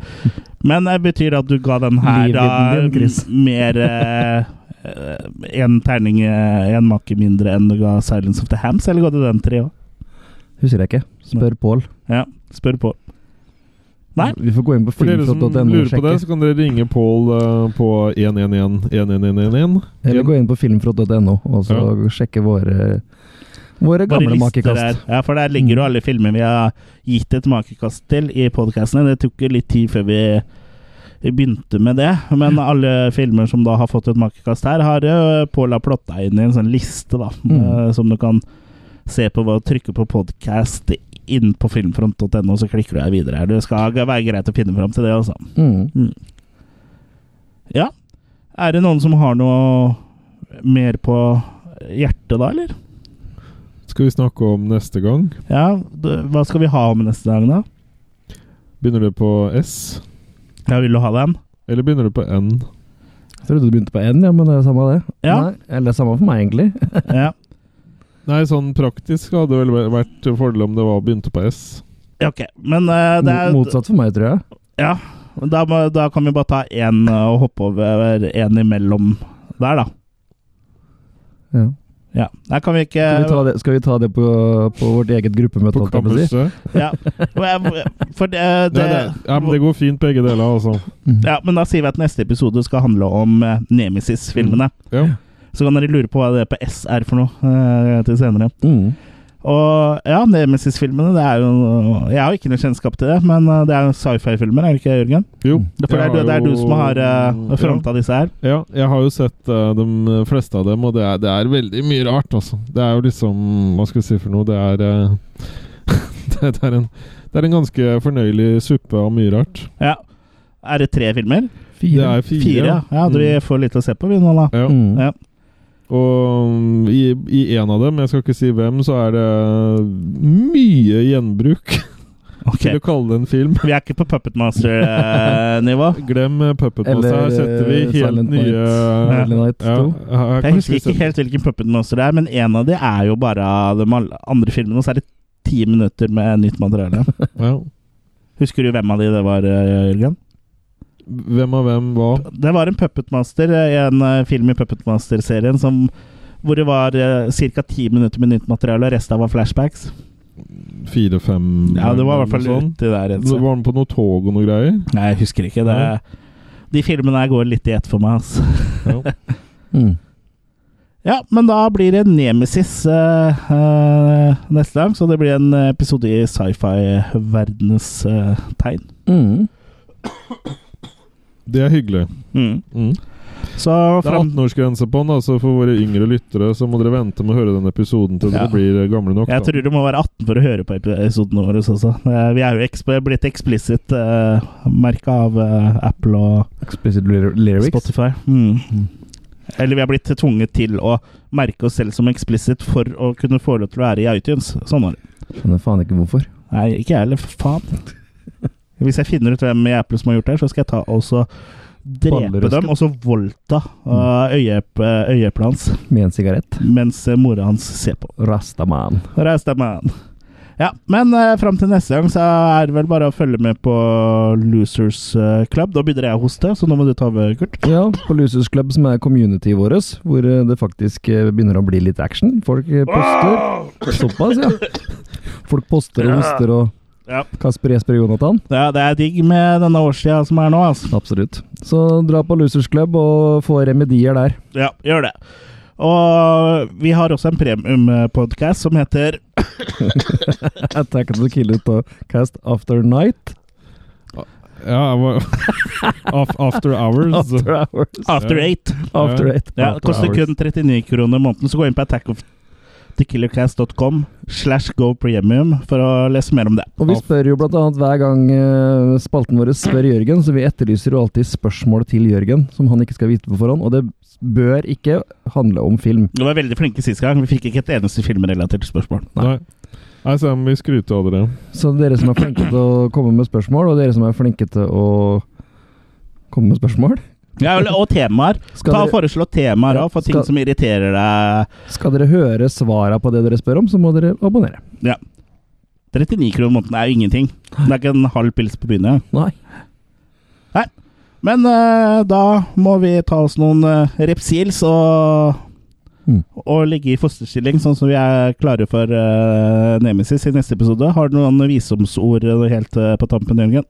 Men det betyr det at du ga den her da
Livvidden din, Chris.
m- mer Én terning, én make mindre enn du ga 'Silence of the Hams'? Eller ga du den tre òg?
Husker jeg ikke. Spør Pål.
Ja, spør på. Nei.
Vi får gå inn på
For dere som
filmflott.no og
lurer på det,
sjekke.
så kan dere ringe Pål eh, på 111 11111.
Eller gå inn på filmflott.no og så
Ja.
sjekke våre,
Bare
våre gamle
lister
makekast.
der. Ja, for der ligger jo alle filmer vi har gitt et makekast til i podkastene. Det tok jo litt tid før vi vi begynte med det, men alle filmer som da har fått et makekast her, har jo Pål har plotta inn i en sånn liste, da,
Mm.
eh, som du kan se på ved å trykke på podkast inn på filmfront.no, så klikker du deg videre her. Det skal være greit å finne fram til det, altså.
Mm.
Ja. Er det noen som har noe mer på hjertet da, eller?
Skal vi snakke om neste gang?
Ja, d- hva skal vi ha om neste dag, da?
Begynner det på S?
Ja, vil du ha den?
Eller begynner det på N?
Jeg trodde du begynte på én, ja, men det er samme det.
Ja.
Nei, eller det er samme for meg, egentlig.
Ja.
Nei, sånn praktisk hadde det vel vært fordel om det var begynte på S.
Ja, Ok, men eh, det er
Mo- Motsatt for meg, tror jeg.
Ja, da, må- da kan vi bare ta én eh, og hoppe over én imellom der, da.
Ja.
Ja. Der kan vi ikke
Skal vi ta det, skal vi ta det på, på vårt eget gruppemøte?
På
holdt jeg på å si?
kammerset.
ja. For det, eh,
Nei,
det
det, ja, men det går fint begge deler, altså.
Ja, men da sier vi at neste episode skal handle om eh,
Mm.
Nemesis-filmene.
Ja.
Så kan dere lure på hva det på S er for noe eh, til senere.
Mm.
Og ja, Nemesis-filmene, det er jo Jeg har ikke noe kjennskap til det, men eh, det er jo sci-fi-filmer, er det ikke, Jørgen?
Jo.
For Mm. det
jeg
er, du, det er
jo-
du som har uh, fronta disse her.
Ja, ja, jeg har jo sett eh, de fleste av dem, og det er, det er veldig mye rart, altså. Det er jo liksom Hva skal vi si for noe? Det er eh, det, det, er en, det er en ganske fornøyelig suppe av mye rart.
Ja. Er det tre filmer?
Det
Fire.
er fire. Mm.
Fire, ja. ja du, vi får litt å se på, vi nå, da.
Ja.
Mm.
Ja.
Og mm, i, i en av dem, jeg skal ikke si hvem, så er det mye gjenbruk
Ok.
til å kalle det en film.
Vi er ikke på Puppet Master-nivå.
Glem eh, Puppet
Eller,
Master. Her setter vi
eh,
helt
Silent
nye
Night. Silent Night
Ja,
2.
her- her
Jeg
kanskje
husker ikke
vi setter-
helt hvilken Puppet Master det er, men en av de er jo bare av de alle- andre filmene, og så er det ti minutter med nytt materiale.
Ja.
Husker du hvem av de det var, eh, Jørgen?
Hvem av hvem hva?
Det var en Puppet Master, eh, en eh, film i Puppet Master-serien som hvor det var ca. ti minutter med nytt materiale, og resten var flashbacks.
Fire-fem?
Ja, det var i hvert fall
sånn.
uti der. et
Så
sted.
Var den på noe tog og noe greier?
Nei, jeg husker ikke. Det,
Nei.
de filmene her går litt i ett for meg. Altså.
Ja.
Mm.
Ja, men da blir det Nemesis eh, eh, neste gang, så det blir en episode i sci-fi-verdenes eh, tegn.
Mm.
Det er hyggelig.
Mm.
Mm.
Så
Det er
fram...
18-årsgrense på den, da, så for våre yngre lyttere så må dere vente med å høre den episoden til
Ja.
dere blir eh, gamle nok.
Jeg
Da.
tror du må være 18 for å høre på episodene våre også. Eh, Vi er jo eksp blitt eksplisitt uh, merka av eh, Apple og
Explicit lyri- lyrics.
Spotify. Mm. Eller vi er blitt tvunget til å merke oss selv som eksplisitt for å kunne få lov til å være i iTunes. Sånn var det.
Skjønner faen ikke hvorfor.
Nei, ikke jeg heller, for faen. Hvis jeg finner ut hvem i Apple som har gjort det, her, så skal jeg ta og så drepe
Ballerøsken.
dem, og så voldta uh, øyeep- øyeeplet hans
Med en sigarett.
mens eh, mora hans ser på.
Rastaman.
Reis deg, mann. Ja, men uh, fram til neste gang så er det vel bare å følge med på Losers eh, Club. Da begynner jeg å hoste, så nå må du ta over, Kurt.
Ja, på Losers Club, som er communityet vårt, hvor eh, det faktisk eh, begynner å bli litt action. Folk eh, poster. Såpass, ja. Folk poster og hoster og
Ja.
Kasper Jesper Jonathan.
Det er, det er digg med denne årstida som er nå, altså.
Absolutt. Så dra på Losers Club og få remedier der.
Ja, gjør det. Og vi har også en premiumpodkast som heter
Attack of the Killer Cast After Night.
Ja, jeg var- Af- After hours.
After Hours.
After Eight.
After
Ja.
Ja,
Eight.
det
After
koster
Hours.
kun 39 kroner i måneden, så gå inn på attackofthekillercast.com slash go premium for å lese mer om det.
Og vi spør jo blant annet hver gang eh, spalten vår spør Jørgen, så vi etterlyser jo alltid spørsmål til Jørgen som han ikke skal vite på forhånd, og det bør ikke handle om film.
Vi var veldig flinke sist gang, vi fikk ikke et eneste filmrelatert spørsmål.
Nei. Nei, Sam, vi skryter av dere.
Så dere som er flinke til å komme med spørsmål, og dere som er flinke til å komme med spørsmål,
Ja, eller- og temaer.
Skal
Ta og
dere-
Foreslå temaer
Ja,
òg, for ting
skal-
som irriterer deg.
skal dere høre svara på det dere spør om, så må dere abonnere.
Ja. 39 kroner i måneden er jo ingenting. Det er ikke en halv pils på byen. engang.
Nei.
Nei. Men eh, da må vi ta oss noen uh, Repsils og
Mm.
og ligge i fosterstilling, sånn som vi er klare for eh, Nemesis i neste episode. Har du noen visdomsord eh, helt eh, på tampen, Jørgen?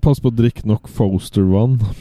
Pass på å drikke nok Foster One.